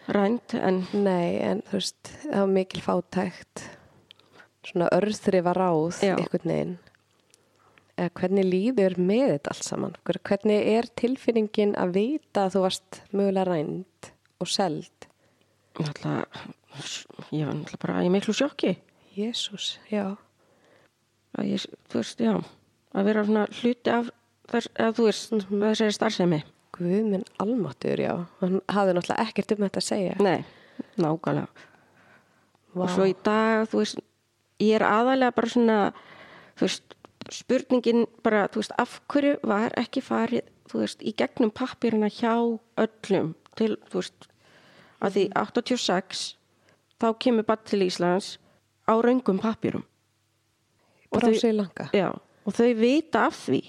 Speaker 2: rænt, en
Speaker 1: Ah. Nei, en þú veist, það var mikil fátækt svona örþrifa ráð
Speaker 2: Já.
Speaker 1: einhvern veginn eða hvernig líður með þetta allt saman Hver- hvernig er tilfinningin að vita að þú varst mögulega rænd og seld
Speaker 2: náttúrulega, ég var náttúrulega bara í miklu sjokki,
Speaker 1: Jésús, já
Speaker 2: að ég, þú veist, já, að vera svona hluti af þess, að þú veist, þessari starfsemi.
Speaker 1: Guðminn almáttur, já. Hann hafði náttúrulega ekkert um þetta að segja.
Speaker 2: Nei, nákvæmlega.
Speaker 1: Vá.
Speaker 2: Og svo í dag, þú veist, ég er aðalega bara svona, þú veist, spurningin bara, þú veist, af hverju var ekki farið, þú veist, í gegnum pappirina hjá öllum til, þú veist, að því
Speaker 1: Mm.
Speaker 2: 86, þá kemur bara til Íslands á raungum pappirum. og
Speaker 1: Frá
Speaker 2: þau-
Speaker 1: Sri Lanka.
Speaker 2: Já, og þau vita af því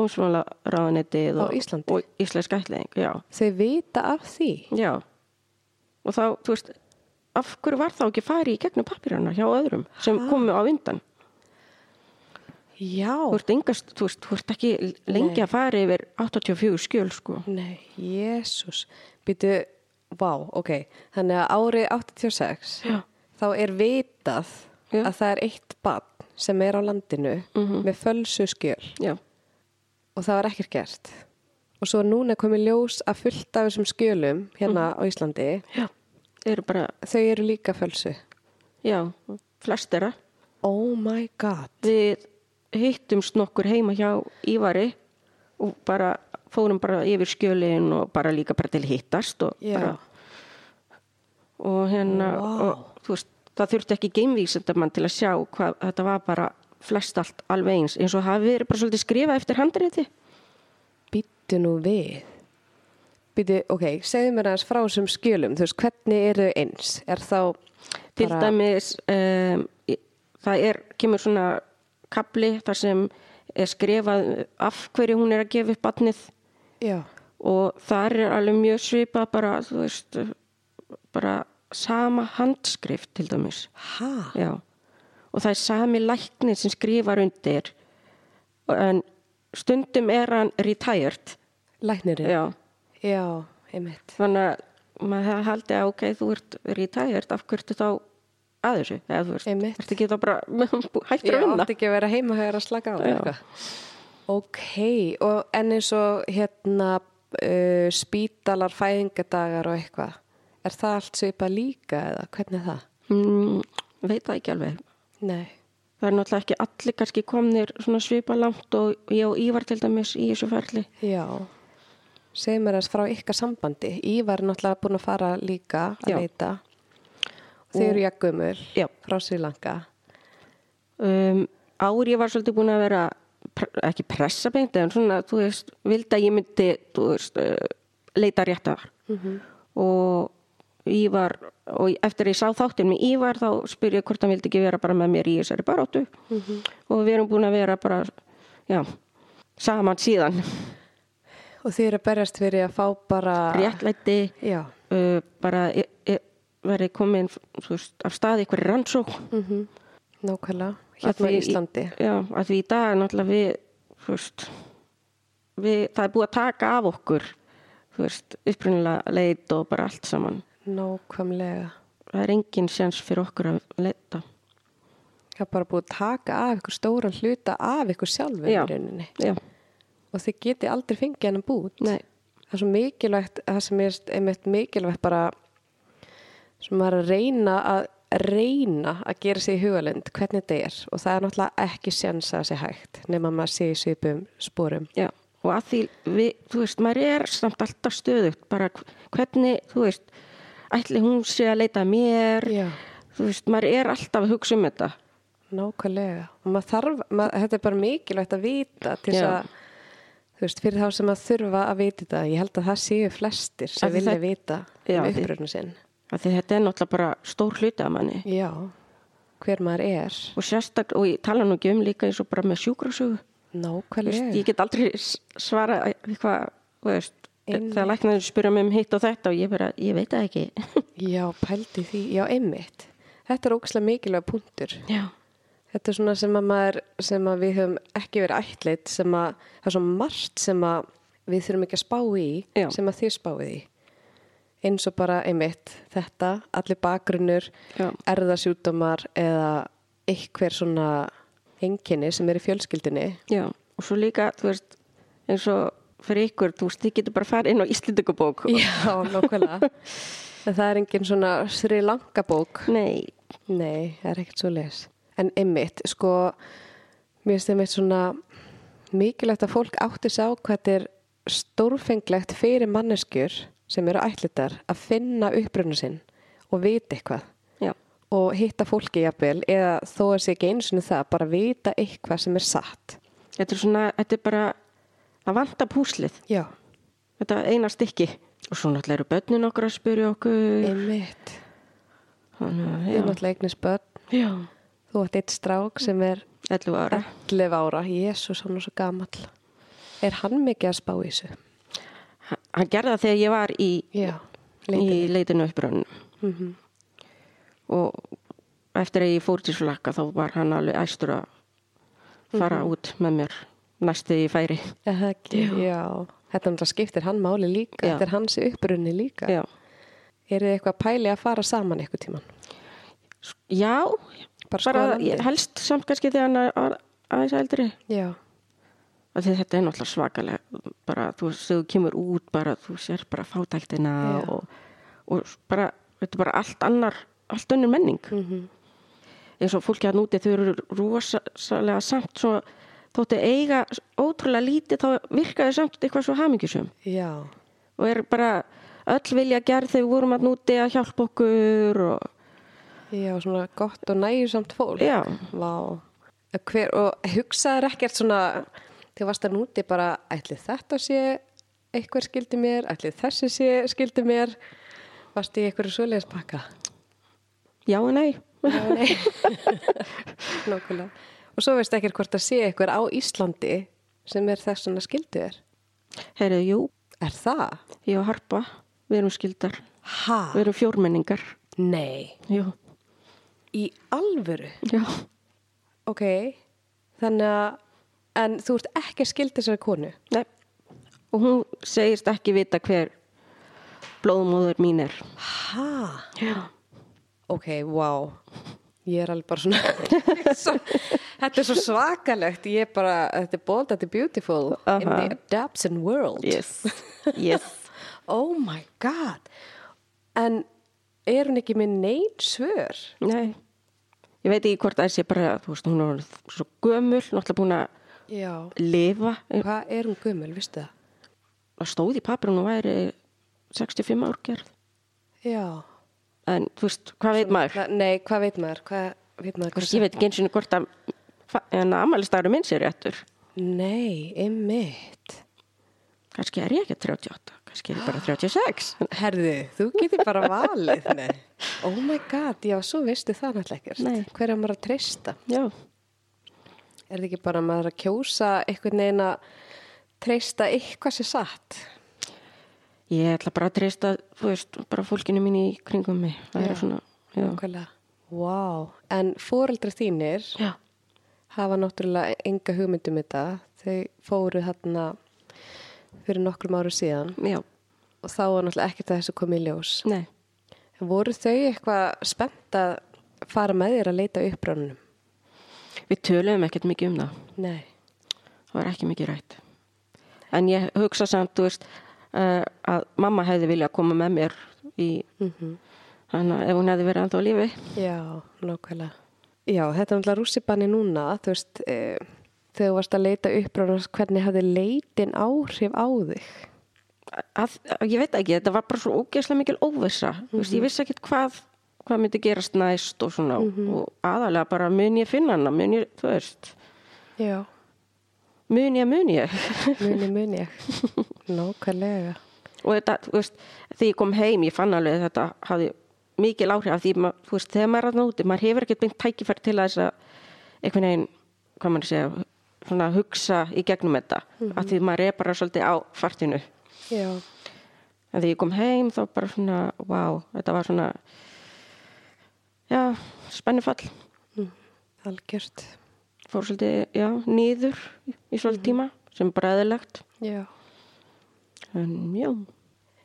Speaker 2: Dómsmálaráðanetið
Speaker 1: Á
Speaker 2: og,
Speaker 1: Íslandi?
Speaker 2: og Íslensk ætling, já,
Speaker 1: Þau vita af því.
Speaker 2: já og þá, þú veist af hverju var þá ekki farið í gegnum pappirana hjá öðrum sem komu á undan
Speaker 1: Já.
Speaker 2: þú ert, engast, þú veist, þú ert ekki lengi að fara yfir 84 skjöl sko
Speaker 1: Nei, Jésús. Býtu, vá, ok. Þannig að árið 86,
Speaker 2: Já.
Speaker 1: þá er vitað
Speaker 2: Já.
Speaker 1: að það er eitt barn sem er á landinu með fölsu skjöl
Speaker 2: já,
Speaker 1: og það var ekkert gert og svo núna komið ljós að fullt af þessum skjölum hérna á Íslandi
Speaker 2: já, þeir eru bara,
Speaker 1: þau eru líka fölsu
Speaker 2: já, flest þeirra.
Speaker 1: oh my god
Speaker 2: Við hittumst nokkur heima hjá Ívari og bara fórum bara yfir skjölin og bara líka bara til hittast og
Speaker 1: Já.
Speaker 2: bara og hérna
Speaker 1: Vá.
Speaker 2: og þú veist, það þurfti ekki geimvísindamann til að sjá hvað þetta var bara flest allt alveg eins eins og hafi verið bara svolítið skrifað eftir handriði
Speaker 1: býttu nú við býttu, ok, segðu mér aðeins frá þessum skjölum þú veist, hvernig eru eins er þá
Speaker 2: til
Speaker 1: bara-
Speaker 2: dæmis um, í- það er, kemur svona kapli þar sem er skrifað af hverju hún er að gefa upp batnið
Speaker 1: já,
Speaker 2: og þar er alveg mjög svipað bara, þú veist bara sama handskrift til dæmis
Speaker 1: ha
Speaker 2: Já. og það er sami læknir sem skrifar undir en stundum er hann retired
Speaker 1: læknirinn,
Speaker 2: Já.
Speaker 1: já, einmitt
Speaker 2: þannig að maður hefði haldið að ok, þú ert retired af hverju ertu þá að þessu eða þú
Speaker 1: Einmitt.
Speaker 2: veist, ertu ekki þá bara hættur
Speaker 1: ég
Speaker 2: að vinna
Speaker 1: átti ekki að vera heima hér að slaka á
Speaker 2: Já.
Speaker 1: eitthvað. ok, og en eins og hérna uh, spítalar, fæðingadagar og eitthvað er það allt svipað líka eða hvernig er það?
Speaker 2: mm, veit það ekki alveg
Speaker 1: nei,
Speaker 2: það er náttúrulega ekki allir kannski komnir svona svipa langt og ég og Ívar til dæmis í þessu ferli
Speaker 1: já segðu mér aðeins frá ykkar sambandi Ívar er náttúrulega búin að fara líka að
Speaker 2: Já.
Speaker 1: leita Þið eru jakkumur
Speaker 2: Já.
Speaker 1: frá Sri Lanka.
Speaker 2: um, ár ég var svolítið búin að vera pr- ekki pressa beint en svona, þú veist, vildi að ég myndi þú veist, uh, leita réttar og Ívar og eftir að ég sá þáttinn með Ívar þá spyr ég hvort hann vildi ekki vera bara með mér í þessari baróttu og við erum búin að vera bara já, saman síðan
Speaker 1: Og þið eru að berjast fyrir að fá bara...
Speaker 2: réttlæti
Speaker 1: Já.
Speaker 2: uh, bara e, e, verið komin þú veist, af staði ykkur rannsókn
Speaker 1: Mm Nákvæmlega.
Speaker 2: Að
Speaker 1: Hérna
Speaker 2: því-
Speaker 1: í Íslandi.
Speaker 2: Já, að því í dag er náttúrulega við, þú veist, við, það er búið að taka af okkur, þú veist, upprunnilega leit og bara allt saman.
Speaker 1: Nákvæmlega.
Speaker 2: Það er engin sjans fyrir okkur að leita.
Speaker 1: Það er bara búið að taka af ykkur stóran hluta af ykkur sjálfur í
Speaker 2: Já.
Speaker 1: rauninni.
Speaker 2: Já,
Speaker 1: Og þið geti aldrei fengið hennan bút.
Speaker 2: Nei.
Speaker 1: Það er svo mikilvægt, það sem er einmitt mikilvægt bara sem maður er að reyna að reyna að gera sig í hugalund hvernig þetta er og það er náttúrulega ekki sjans að það sé hægt nema maður sé í svipum spórum
Speaker 2: já. Og að því, við, þú veist, maður er samt alltaf stöðugt, bara hvernig, þú veist, ætli hún sé að leita að mér,
Speaker 1: Já.
Speaker 2: þú veist, maður er alltaf að hugsa um þetta.
Speaker 1: Nákvæmlega. Og maður þarf, maður, þetta er bara mikilvægt að vita til þess
Speaker 2: Já.
Speaker 1: að, þú veist, fyrir þá sem að þurfa að vita þetta. Ég held að það séu flestir sem
Speaker 2: Að
Speaker 1: vilja
Speaker 2: það-
Speaker 1: vita
Speaker 2: Já,
Speaker 1: um
Speaker 2: þið-
Speaker 1: uppröðinu sinn.
Speaker 2: Að því þetta er náttúrulega bara stór hluti af manni.
Speaker 1: Já, hver maður er.
Speaker 2: Og sérstaklega, og ég tala nú ekki um líka eins og bara með sjúkrasögu. Þú
Speaker 1: Nákvæmlega.
Speaker 2: veist, ég get aldrei s- svarað eitthvað, þú veist,
Speaker 1: Einmitt.
Speaker 2: þegar læknaður spyrja mig um hitt og þetta og ég bara, ég veit það ekki.
Speaker 1: Já, pældi því. Já, einmitt. Þetta er ókslega mikilvæg punktur.
Speaker 2: Já.
Speaker 1: Þetta er svona sem að maður, sem að við höfum ekki verið ætlit, sem að það er svo margt sem að við þurfum ekki að spá í,
Speaker 2: Já.
Speaker 1: sem að þið spáið í. Eins og bara einmitt þetta, allir bakgrunnur,
Speaker 2: Já.
Speaker 1: erðasjúdómar eða eitthver svona enginni sem er í fjölskyldinni.
Speaker 2: Já, og svo líka, þú veist, eins og fyrir ykkur, þú veist, þið getur bara farið inn á Íslendingabók.
Speaker 1: Já, nákvæmlega. en það er engin svona Sri Lanka bók.
Speaker 2: Nei,
Speaker 1: Nei, það er ekkert svo les. En einmitt, sko, mér finnst einmitt svona mikilvægt að fólk átti sá hvað þetta er stórfenglegt fyrir manneskjur sem eru ætlitar að finna upprunna sinn og vita eitthvað
Speaker 2: já,
Speaker 1: og hitta fólki jafnvel eða þó að sé ekki eins og það, bara vita eitthvað sem er satt.
Speaker 2: þetta er svona, þetta er bara, það vantar púslið,
Speaker 1: Já.
Speaker 2: þetta er eina stykki. Og svo náttúrulega eru börnin okkur að spyrja okkur.
Speaker 1: Einmitt.
Speaker 2: Þannig að,
Speaker 1: Mm. Ég er náttúrulega eignis börn.
Speaker 2: já, já,
Speaker 1: Þú átt eitt strák sem er
Speaker 2: 11 ára.
Speaker 1: 11 ára. Jésús, hann er svo gamall. Er hann mikið að spá í þessu?
Speaker 2: Hann- Hann gerði það þegar ég var í,
Speaker 1: Já.
Speaker 2: í leitinu uppröðunum.
Speaker 1: Mm
Speaker 2: og eftir að ég fór til Slakka þá var hann alveg æstur að fara
Speaker 1: Mhm.
Speaker 2: út með mér næstu í færi
Speaker 1: Er það ekki, já. Þetta náttúrulega skiptir hann máli líka,
Speaker 2: Já.
Speaker 1: þetta er hans upprunni líka.
Speaker 2: já.
Speaker 1: Er þið eitthvað að pæli að fara saman eitthvað tíman?
Speaker 2: já,
Speaker 1: Bara
Speaker 2: bara
Speaker 1: skoða landið.
Speaker 2: helst samt kannski þegar hann er aðeins eldri
Speaker 1: Já,
Speaker 2: af því þetta er náttúrulega svakalega bara þú veist, þegar þú kemur út bara þú sér bara fátæktina
Speaker 1: Já.
Speaker 2: og, og bara, þetta er bara allt annar allt önnur menning eins og fólki hann úti þau eru rosalega samt svo þóttu eiga ótrúlega lítið þá virkaðu samt eitthvað svo hamingjusum
Speaker 1: já,
Speaker 2: og er bara öll vilja gerð þegar við vorum að núti að hjálpa okkur og
Speaker 1: já, svona gott og nægjusamt fólk.
Speaker 2: Já.
Speaker 1: Vá. Hver, og hugsaður ekkert svona, þegar varst að núti bara, ætli þetta sé eitthvað skildi mér, ætli þessi sé skildi mér, varst í eitthvað svoleiðis pakka?
Speaker 2: já og nei
Speaker 1: Já, nei. Nókulega. Og svo veist ekkert hvort það sé eitthvað á Íslandi sem er þess svona skildu er.
Speaker 2: heyrðu, jú,
Speaker 1: Er það?
Speaker 2: ég og Harpa við erum skildar,
Speaker 1: Ha?
Speaker 2: við erum fjórmenningar
Speaker 1: Nei.
Speaker 2: jú,
Speaker 1: Í alvöru?
Speaker 2: já
Speaker 1: Ok, þannig að en þú ert ekki skild þessari konu.
Speaker 2: Nei. Og hún segist ekki vita hver blóðmóður mín er.
Speaker 1: Ha?
Speaker 2: Já.
Speaker 1: Ok, wow. Ég er alveg bara svona, svo, þetta er svo svakalegt, ég er bara, þetta er bold, þetta er beautiful in
Speaker 2: Aha.
Speaker 1: the adaption world.
Speaker 2: Yes. Yes.
Speaker 1: Oh my god. En er hún ekki með neyn svör?
Speaker 2: Nei. Ég veit ekki hvort það sé bara, þú veist, hún er orðin svo gömul, náttúrulega búin að
Speaker 1: Já.
Speaker 2: lifa.
Speaker 1: Hvað er hún gömul, veistu það?
Speaker 2: Það stóð í papir hún væri 65 ár gerð.
Speaker 1: Já.
Speaker 2: En, þú veist, hvað veit maður?
Speaker 1: Na, nei, hvað veit maður? Hvað veit maður?
Speaker 2: Þú veist, ég veit ekki eins og hvort að en að amalistaru minn sér réttur.
Speaker 1: Nei, einmitt.
Speaker 2: Kannski er ég ekki 38, kannski er ég bara 36.
Speaker 1: Herði, þú getur bara valið, nei. Oh my god, já, svo veistu það náttúrulega ekkert.
Speaker 2: Nei.
Speaker 1: Hver er maður að treysta?
Speaker 2: Já.
Speaker 1: Er það ekki bara að maður að kjósa einhvern veginn að treysta eitthvað sér satt?
Speaker 2: Ég ætla bara að treysta, þú veist, bara fólkinu mín í kringum mig. Það
Speaker 1: Já.
Speaker 2: er svona, já.
Speaker 1: Nákvæmlega. Vá, en fóreldra þínir
Speaker 2: Já.
Speaker 1: hafa náttúrulega enga hugmyndum þetta. Þau fóru þarna fyrir nokkrum áru síðan
Speaker 2: Já,
Speaker 1: og þá var náttúrulega ekkert að þessu komið í ljós.
Speaker 2: nei.
Speaker 1: En voru þau eitthvað spennt að fara með þér að leita upprönnum?
Speaker 2: Við töluðum ekkert mikið um það.
Speaker 1: Nei.
Speaker 2: Það var ekki mikið rætt. En ég hugsa samt, þú veist, uh, að mamma hefði viljað koma með mér í, þannig að ef hún hefði verið ennþá á lífi.
Speaker 1: Já, nákvæmlega. Já, þetta er náttúrulega rússibanni núna, þú veist, eh, þegar þú varst að leita upprönnum, hvernig hafði leitin áhrif á þig?
Speaker 2: Að, að, ég veit ekki, þetta var bara svo ógeðslega mikil óvissa. Þú veist, ég vissi ekkert hvað, hvað myndi gerast næst og svona. Og aðalega bara mun ég finna hana, mun ég, þú veist,
Speaker 1: Já.
Speaker 2: mun ég, mun ég.
Speaker 1: Muni, muni ég. Nákvæmlega.
Speaker 2: og þetta, þú veist, þegar ég kom heim ég fann alveg að þetta hafði mikil áhrif af því, ma- þú veist, þegar maður er að úti maður hefur ekkert beint tækifæri til að þess að einhvern veginn, hvað maður segja svona hugsa í gegnum þetta af því maður er bara svolítið á fartinu en
Speaker 1: Já.
Speaker 2: þegar ég kom heim þá bara svona, wow þetta var svona já, spennufall
Speaker 1: Mm, Algjört.
Speaker 2: fór svolítið, já, nýður í svolítið tíma, sem bara eðilegt
Speaker 1: Já.
Speaker 2: en já,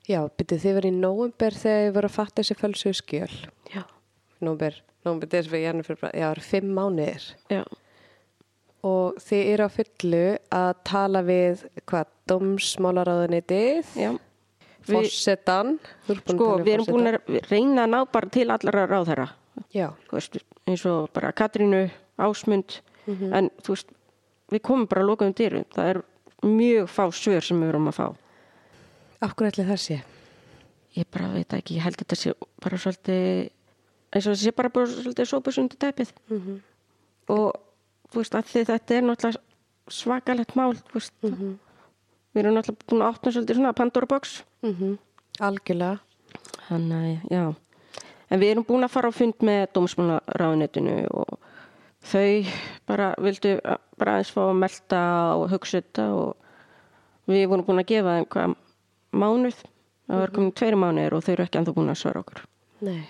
Speaker 1: Já, byrjuð þið verið í nóumber þegar þið voru að fatta þessi fölsu skjöl.
Speaker 2: já,
Speaker 1: Nóumber, nóumber, þessi fyrir janir fyrir bara, já, það eru fimm mánuðir.
Speaker 2: já
Speaker 1: Og þið eru á fullu að tala við, hvað, domsmálaráðunitið,
Speaker 2: já, Við-
Speaker 1: fossetan.
Speaker 2: Sko,
Speaker 1: um
Speaker 2: við erum búin að reyna að ná bara til allra ráðherra,
Speaker 1: Já,
Speaker 2: þú veist, eins og bara Katrínu, Ásmund, en þú veist, við komum bara að lokaðum dyrum, það er mjög fá svör sem við erum að fá.
Speaker 1: af hverju ætli það sé?
Speaker 2: Ég bara veit ekki, ég held þetta sé bara svolítið, eins og þetta sé bara, bara svolítið sópus undir tæpið. -hmm. Og þú veist, að því þetta er náttúrulega svakalegt mál, þú veist, við erum náttúrulega búin að opna svolítið svona Pandora box.
Speaker 1: Mm Algjörlega.
Speaker 2: Þannig, að, já. En við erum búin að fara á fund með dómsmálaráðunetinu og þau bara vildu bara aðeins fá að melta og hugsa þetta og við vorum búin að gefa þeim hvað mánuð, það var komin tveir mánuðir og þau eru ekki ennþá búin að svara okkur.
Speaker 1: Nei.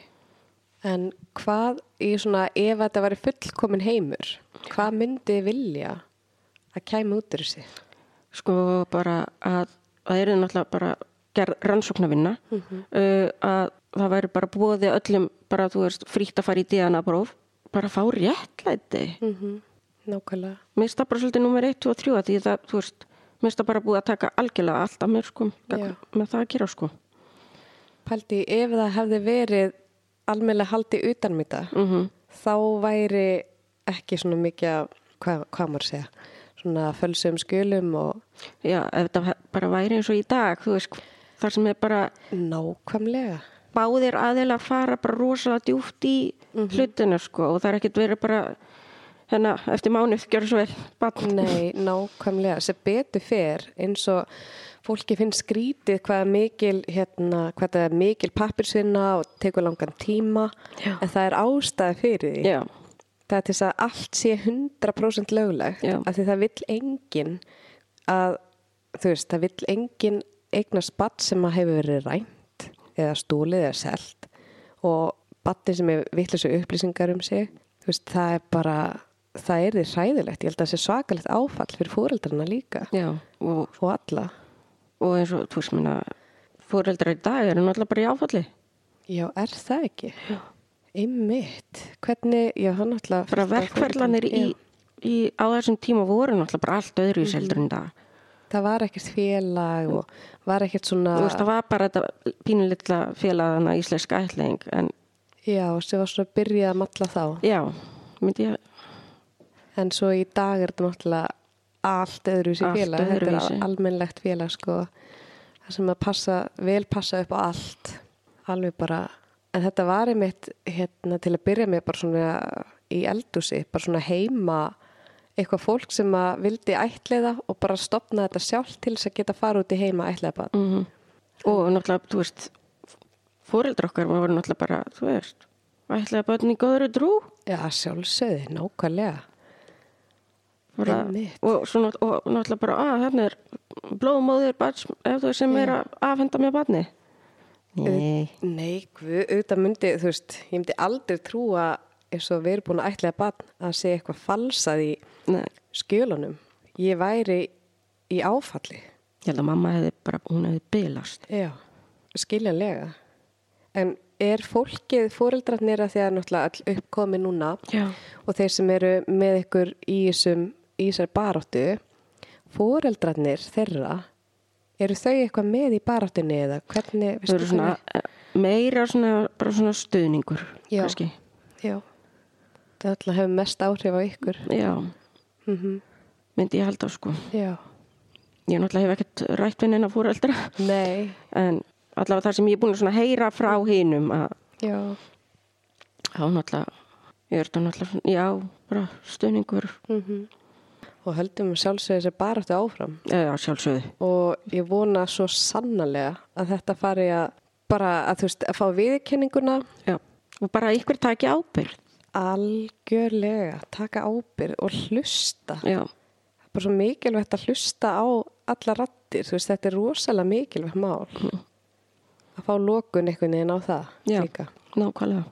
Speaker 1: En hvað í svona, ef þetta væri fullkomin heimur, hvað myndi þið vilja að kæmi út úr þessi?
Speaker 2: Sko bara að það eru náttúrulega bara gerð rannsóknarvinna uh, að það væri bara bóði öllum bara þú veist frítt að fara í DNA próf bara fá réttlæti
Speaker 1: Mhm. nákvæmlega.
Speaker 2: mér finnst það bara svolítið nummer 1, 2 og 3 af því það, þú veist, mér finnst það bara búið að taka algjörlega allt af mér sko,
Speaker 1: Já.
Speaker 2: með það að gera sko
Speaker 1: Paldi, ef það hefði verið almennilega haldið utanmýta, mm
Speaker 2: Mhm.
Speaker 1: -hmm. þá væri ekki svona mikið, af- hvað, hvað maður segja, svona fölsum skjölum og
Speaker 2: já, ef þetta he- bara væri eins og í dag þú veist, þar sem er bara
Speaker 1: nákvæmlega.
Speaker 2: báðir aðeila fara bara rosalega djúft í
Speaker 1: Mhm.
Speaker 2: hlutinu sko og það er ekkert verið bara hérna, eftir mánuð, gjör svo vel barn.
Speaker 1: Nei, nákvæmlega, sem betur fer eins og fólki finnst skrítið hvað er mikil, hérna, hvað það er mikil pappirsvinna og tekur langan tíma,
Speaker 2: Já.
Speaker 1: en það er ástæði fyrir því.
Speaker 2: já,
Speaker 1: það er til þess að allt sé 100% löglegt
Speaker 2: Já.
Speaker 1: af því það vill engin að, þú veist, það vill engin eignast batt sem að hefur verið rænt eða stúlið eða selt og battin sem hefur vittlisum upplýsingar um sig þú veist, það er bara það er því hræðilegt, ég held að það sé svakalegt áfall fyrir fóreldrarna líka
Speaker 2: já og,
Speaker 1: og alla
Speaker 2: og eins og, þú veist, minna fóreldrar í dag eru náttúrulega bara í áfalli
Speaker 1: Já, er það ekki? Já. Einmitt, hvernig, já, hann alltaf
Speaker 2: bara verkferðlanir í, í á þessum tíma voru náttúrulega bara allt öðru
Speaker 1: Mhm.
Speaker 2: í seldur en það
Speaker 1: Það var ekkert félag og var ekkert svona
Speaker 2: þú veist það var bara þetta pínulitla félagana íslenska ætling en
Speaker 1: Já, sem var svona að byrja að matla þá.
Speaker 2: já, myndi ég
Speaker 1: En svo í dag er þetta náttúrulega allt öðruvísi
Speaker 2: Allt
Speaker 1: félag. Þetta
Speaker 2: öðruvísi.
Speaker 1: er almennlegt félag, sko. Það sem að passa, vel passa upp á allt. Alveg bara, en þetta var einmitt hérna til að byrja með bara svona í eldúsi, bara svona heima eitthvað fólk sem að vildi ætliða og bara stopna þetta sjálf til þess að geta fara út í heima ætliða bara.
Speaker 2: mm og náttúrulega, þú veist fóreldrar okkar voru náttúrulega bara þú veist, ætlaði börn í góðru drú
Speaker 1: Já, sjálfsögði, nákvæmlega.
Speaker 2: bara,
Speaker 1: Einmitt.
Speaker 2: og, svona, og náttúrulega bara að hérna er blóðmóðir barns, ef þú veist, sem er að afhenda mér barni nei
Speaker 1: Nei, guð, auðvitað myndi, þú veist, ég myndi aldrei trúa eins og við erum búin að ætlaða barn að sé eitthvað falsað í
Speaker 2: Nei.
Speaker 1: skjölunum. Ég væri í áfalli.
Speaker 2: ég held að mamma hefði bara, hún hefði bylast
Speaker 1: Já. Skiljanlega. En er fólkið, fóreldrarnir að því að náttúrulega all uppkomi núna
Speaker 2: Já.
Speaker 1: og þeir sem eru með ykkur í þessum, í þessar baráttu, fóreldrarnir þeirra, eru þau eitthvað með í baráttunni eða hvernig,
Speaker 2: Þau eru svona eh, meira svona, bara svona stuðningur,
Speaker 1: Já.
Speaker 2: kannski.
Speaker 1: Já. Það ætla að hefur mest áhrif á ykkur.
Speaker 2: Já,
Speaker 1: Mhm.
Speaker 2: myndi ég halda sko.
Speaker 1: Já.
Speaker 2: Ég náttúrulega hef ekkert rætt við neina fóreldra,
Speaker 1: Nei.
Speaker 2: en allavega þar sem ég er búin að svona heyra frá hinum að
Speaker 1: Já.
Speaker 2: þá náttúrulega, ég er þetta náttúrulega, svona, já, bara stuðningur,
Speaker 1: Mhm. Og höldum sjálfsögur þessi baráttu áfram.
Speaker 2: eða sjálfsögðu.
Speaker 1: Og ég vona svo sannarlega að þetta fari að bara að þú veist að fá viðkenninguna
Speaker 2: Já, og bara að ykkur taki ábyrgð.
Speaker 1: algjörlega, taka ábyrð og hlusta.
Speaker 2: Já,
Speaker 1: Bara svo mikilvægt að hlusta á alla rattir, þú veist þetta er rosalega mikilvægt mál. Að fá lokun einhvern veginn á það
Speaker 2: já,
Speaker 1: líka.
Speaker 2: nákvæmlega.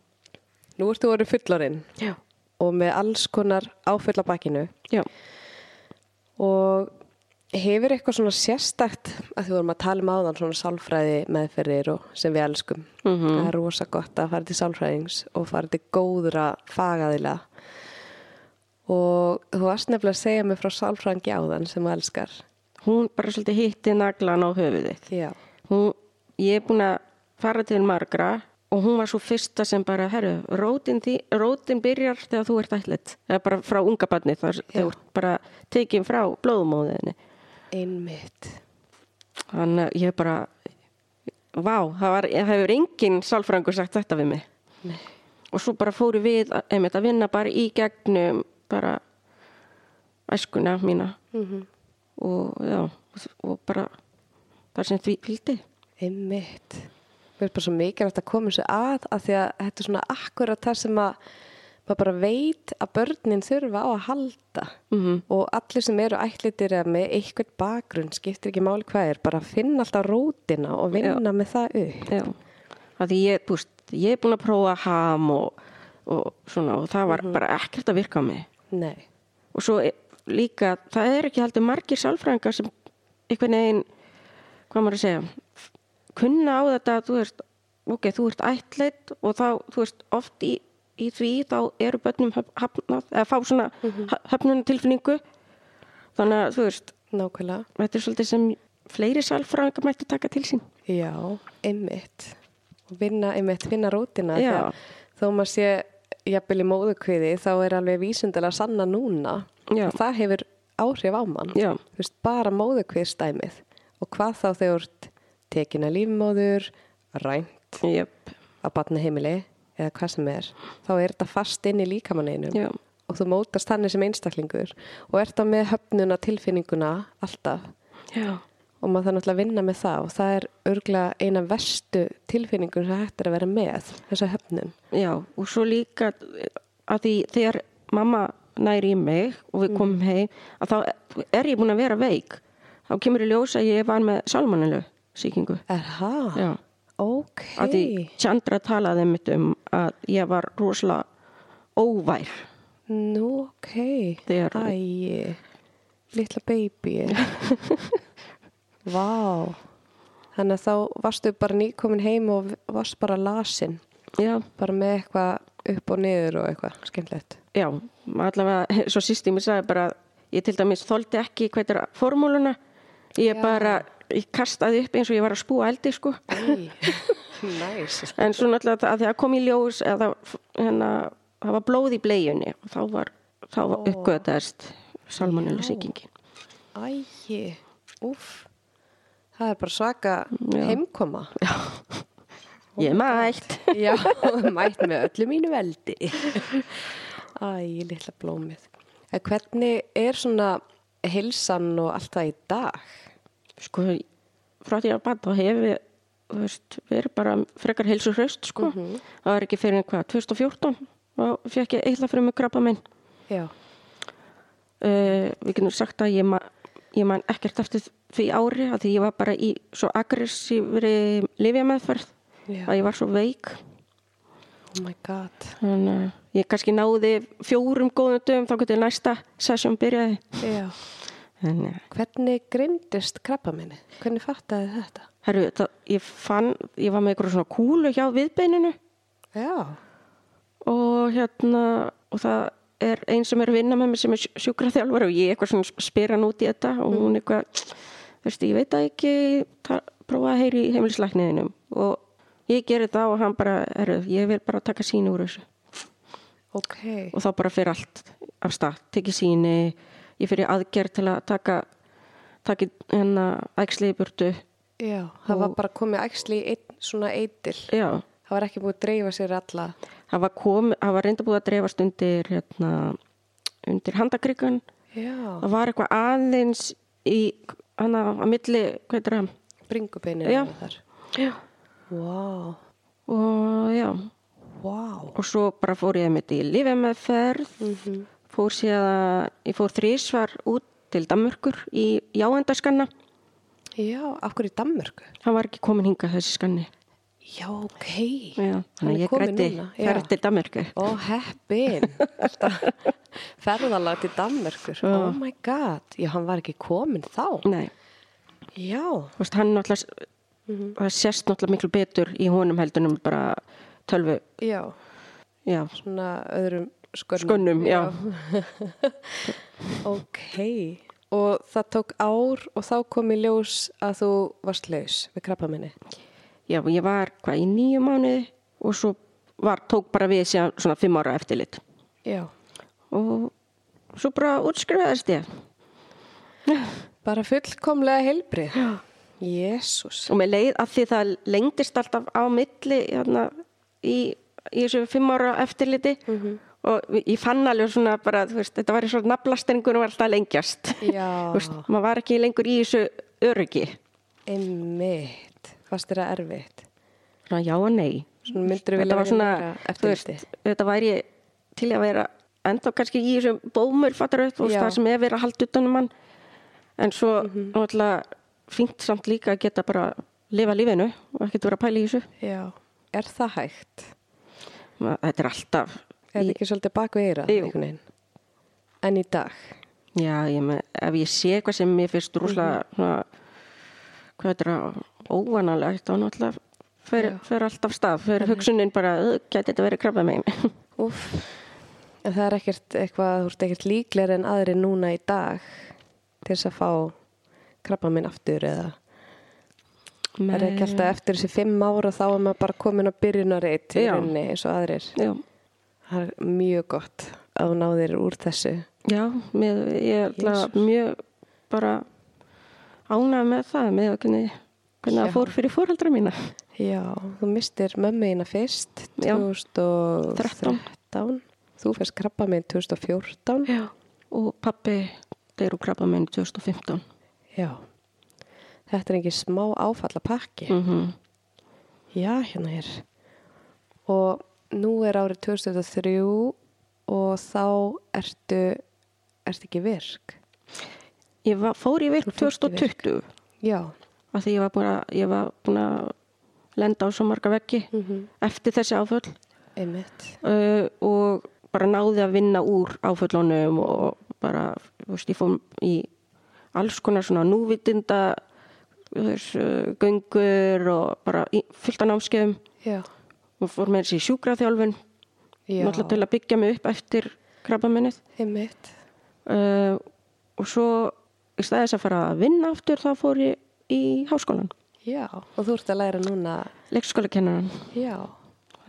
Speaker 1: Nú ertu orðið fullorinn
Speaker 2: Já,
Speaker 1: og með alls konar áföll á bakinu.
Speaker 2: já.
Speaker 1: Og hefur eitthvað svona sérstakt að því vorum að tala um áðan svona sálfræði meðferðir og sem við elskum.
Speaker 2: Mhm.
Speaker 1: Það er rosa gott að fara til sálfræðings og fara til góðra fagaðila. Og þú varst nefnilega að segja mig frá sálfræðingi áðan sem þú elskar.
Speaker 2: Hún bara svolítið hitti naglan á höfuðið.
Speaker 1: Já.
Speaker 2: hún, ég er búin að fara til margra og hún var svo fyrsta sem bara, herru, rótin, því, rótin byrjar þegar þú ert ætlit eða bara frá unga barni þar þegar þú ert bara tekin frá blóðumóðinni
Speaker 1: Einmitt.
Speaker 2: þannig að ég bara vá, það var, það hefur enginn sálfrangur sagt þetta við mig
Speaker 1: Nei.
Speaker 2: og svo bara fóru við að- einmitt að vinna bara í gegnum bara æskuna mína -hmm. og já og bara þar sem því fylgdi
Speaker 1: Einmitt. Mér er bara svo mikilvægt að koma þessu að að því að þetta er svona akkurat það sem að maður bara veit að börnin þurfa á að halda
Speaker 2: Mhm.
Speaker 1: -hmm. og allir sem eru ætlitir eða með eitthvað bakgrunn skiptir ekki máli hvað er, bara finna alltaf rótina og vinna með það upp.
Speaker 2: Já, að því ég, þú veist, ég er búin að prófa ham og, og svona og það var bara ekkert að virka á mig.
Speaker 1: Nei,
Speaker 2: Og svo er, líka, það er ekki heldur margir sálfræðingar sem einhvern veginn, hvað maður að segja, kunna á þetta, þú veist, ok, þú ert ætleitt og þá, þú veist, oft í í því þá eru börnum höf- hafnað, eða fá svona mm höfnunartilfinningu þannig að þú veist,
Speaker 1: nákvæmlega.
Speaker 2: þetta er svolítið sem fleiri salfræðingar mættu taka til sín
Speaker 1: Já, einmitt. Og vinna, einmitt, vinna rótina.
Speaker 2: Já.
Speaker 1: þegar- Þó maður sé jafnvel í móðukviði þá er alveg vísindilega sanna núna.
Speaker 2: Já.
Speaker 1: Og Það hefur áhrif á mann.
Speaker 2: Já.
Speaker 1: Þú veist, bara móðukviðstæmið. Og hvað þá þegar þú ert tekin að lífmóður, rænt
Speaker 2: Jöp,
Speaker 1: á batnaheimili eða hvað sem er, þá er þetta fast inn í líkamanninum
Speaker 2: Já.
Speaker 1: og þú mótast þannig sem einstaklingur og ert á með höfnuna tilfinninguna alltaf
Speaker 2: já,
Speaker 1: og maður þarf náttúrulega að vinna með það og það er örglega eina verstu tilfinningun sem hægt er að vera með þessa höfnun.
Speaker 2: já og svo líka að því þegar mamma næri í mig og við komum heim að þá er ég búin að vera veik þá kemur í ljós að ég var með salmonilu sýkingu
Speaker 1: Er það?
Speaker 2: Já.
Speaker 1: Ok.
Speaker 2: að því Chandra talaði mitt um að ég var rosalega óvær
Speaker 1: Nú, ok.
Speaker 2: Þegar-
Speaker 1: Æi. Lilla baby. Vá. Þannig að þá varstu bara nýkomin heim og varst bara lasin.
Speaker 2: já,
Speaker 1: Bara með eitthvað upp og niður og eitthvað. Skemmtilegt.
Speaker 2: já, allavega svo sýst ég mér sagði bara að ég til dæmis þoldi ekki hvað er formúluna ég bara, ég kastaði upp eins og ég var að spúa eldi sko
Speaker 1: Æi. Næs.
Speaker 2: en svo náttúrulega að það kom í ljós að það, hérna, það var blóð í bleiunni og þá var, þá var uppgöðast salmonellu sýkingin
Speaker 1: Æi. Úf. Það er bara svaka heimkoma.
Speaker 2: já, ég er mætt
Speaker 1: Já, mætt með öllu mínu veldi. Æ, litla blómið. En hvernig er svona hilsan og allt það í dag?
Speaker 2: sko, frá því að bann þá hefur við, þú veist, verið bara frekar heilsu hraust, sko. Það var ekki fyrir hvað, 2014 og fekk ég eitthvað fyrir mig krabba minn.
Speaker 1: Já.
Speaker 2: Uh, við getum sagt að ég, ma ég man ekkert eftir því ári að því ég var bara í svo aggressífri lifjameðferð
Speaker 1: Já.
Speaker 2: að ég var svo veik.
Speaker 1: Oh my god.
Speaker 2: Þannig að ég kannski náði fjórum góðum dögum þá getið næsta sesjón byrjaði. eh,
Speaker 1: Já.
Speaker 2: Þannig að
Speaker 1: Hvernig grindist krabba minni? Hvernig fattaði þetta?
Speaker 2: Herru, það, ég fann, ég var með eitthvað svona kúlu hjá viðbeininu
Speaker 1: Já.
Speaker 2: og hérna og það er einn sem er að vinna með mér sem er sjúkraþjálfur og ég eitthvað svona spyr hann út í þetta og hún eitthvað þú veist, ég veit það ekki ta- prófa að heyri í heimilislækniðinum og ég geri það og hann bara herru, ég vil bara taka síni úr þessu
Speaker 1: Ok.
Speaker 2: og þá bara fyrir allt af stað, tekið síni ég fyrir aðgerð til að taka taka hennar æxli í burtu,
Speaker 1: Já. Það var bara komið æxli í einn svona eitil.
Speaker 2: já
Speaker 1: Það var ekki búið að dreifa sér alla.
Speaker 2: það var, kom, það var reynda búið að dreifast undir hérna, undir handakrikan
Speaker 1: Já.
Speaker 2: það var eitthvað aðeins í hana á milli hvað heitir það
Speaker 1: Bringubeinu
Speaker 2: Já.
Speaker 1: þar.
Speaker 2: já.
Speaker 1: Vá.
Speaker 2: og já
Speaker 1: Vá.
Speaker 2: og svo bara fór ég mitt í lífemeðferð
Speaker 1: Mhm.
Speaker 2: fór síðan ég fór þrísvar út til Danmörkur í jáendaskanna
Speaker 1: Já, af hverju í Danmörku?
Speaker 2: hann var ekki komin hingað þessi skanni
Speaker 1: Já, ok.
Speaker 2: já, þannig
Speaker 1: Hann
Speaker 2: að
Speaker 1: er
Speaker 2: ég
Speaker 1: kominn
Speaker 2: grætti
Speaker 1: núna, já.
Speaker 2: ferð til Danmörkur
Speaker 1: Ó, heppin. Ferðalag til Danmörkur. Oh my god. Já, hann var ekki komin þá.
Speaker 2: nei
Speaker 1: Já.
Speaker 2: Þú veist, hann náttúrulega,
Speaker 1: Mhm.
Speaker 2: það sést náttúrulega miklu betur í honum heldunum bara tölvu,
Speaker 1: Já.
Speaker 2: já,
Speaker 1: Svona öðrum skörnum.
Speaker 2: skonnum, já.
Speaker 1: Ok. Og það tók ár og þá kom í ljós að þú varst laus við krabba minni.
Speaker 2: Já, ég var hvað í nýju mánuði og svo var, tók bara við síðan svona fimm ára eftirlit
Speaker 1: Já.
Speaker 2: og svo bara útskrifaðist ég
Speaker 1: Bara fullkomlega heilbrið. Já. Jésús.
Speaker 2: og með leið að því það lengdist alltaf á milli hérna, í, í þessu fimm ára eftirliti
Speaker 1: Mhm.
Speaker 2: og ég fann alveg svona bara, þú veist, þetta var í svona naflastengur og var alltaf að lengjast
Speaker 1: Já.
Speaker 2: Þú veist, maður var ekki lengur í þessu öryggi
Speaker 1: Einmitt. Fast er það erfitt.
Speaker 2: Svona já og nei.
Speaker 1: Svona myndirðu vilja
Speaker 2: þetta var
Speaker 1: vera
Speaker 2: svona,
Speaker 1: meira
Speaker 2: þú veist,
Speaker 1: eftirliti?
Speaker 2: þetta væri til að vera enda kannski í þessum bómur fattar upp og
Speaker 1: Já. Mhm.
Speaker 2: það sem er verið að halda utanum hann. En svo náttúrulega fínt samt líka að geta bara lifa lífinu og ekkert vera að pæla í þessu.
Speaker 1: Já. Er það hægt?
Speaker 2: Ma- Þetta er alltaf,
Speaker 1: Er þetta ekki svolítið bak við eyrað
Speaker 2: Jú.
Speaker 1: einhvern veginn? En í dag?
Speaker 2: já, ég með, ef ég sé eitthvað sem mér finnst
Speaker 1: Mhm.
Speaker 2: rúslega, svona, hvað þetta er, óvanalegt og náttúrulega fer, fer alltaf stað, fer hugsunin bara, "Ugh, gæti þetta verið krabba megin.
Speaker 1: Úf, en það er ekkert eitthvað, þú ert ekkert líklegri en aðri núna í dag til þess að fá krabba minn aftur eða það er ekki alltaf eftir þessi fimm ára þá er maður bara komin að byrjunar eitt í
Speaker 2: Já.
Speaker 1: rauninni eins og aðrir.
Speaker 2: Já,
Speaker 1: Það er mjög gott að þú náðir úr þessu.
Speaker 2: já mér, ég er alltaf mjög bara ánað með það með að hvernig, hvernig
Speaker 1: Já.
Speaker 2: það fór fyrir fóraldra mína.
Speaker 1: Já, þú mistir mömmu þína fyrst
Speaker 2: Já.
Speaker 1: 2013.
Speaker 2: 13.
Speaker 1: Þú fyrst krabba minn 2014.
Speaker 2: Já. Og pappi deyr úr krabba minn 2015.
Speaker 1: Já. Þetta er engin smá áfalla pakki.
Speaker 2: Mm
Speaker 1: Já, hérna er. Og nú er árið 2003 og þá ertu, ertu ekki virk.
Speaker 2: Ég var, fór í virk
Speaker 1: Þú fórst í virk.
Speaker 2: 2020
Speaker 1: Já.
Speaker 2: af því ég var búin að, ég var búin að lenda á svo marga veggi
Speaker 1: Mm. Mhm.
Speaker 2: eftir þessi áföll
Speaker 1: Einmitt.
Speaker 2: uh, og bara náði að vinna úr áföllunum og bara, þú veist, ég fór í alls konar svona núvitinda þú veist, uh, göngur og bara í, fullt af námskeiðum
Speaker 1: Já.
Speaker 2: og fór með þessi sjúkraþjálfun
Speaker 1: Já.
Speaker 2: náttúrulega til að byggja mig upp eftir krabbaminnið
Speaker 1: Einmitt.
Speaker 2: uh, og svo í staðis að fara að vinna aftur þá fór ég í háskólan
Speaker 1: Já. Og þú ert að læra núna.
Speaker 2: leikskólakennaran
Speaker 1: Já.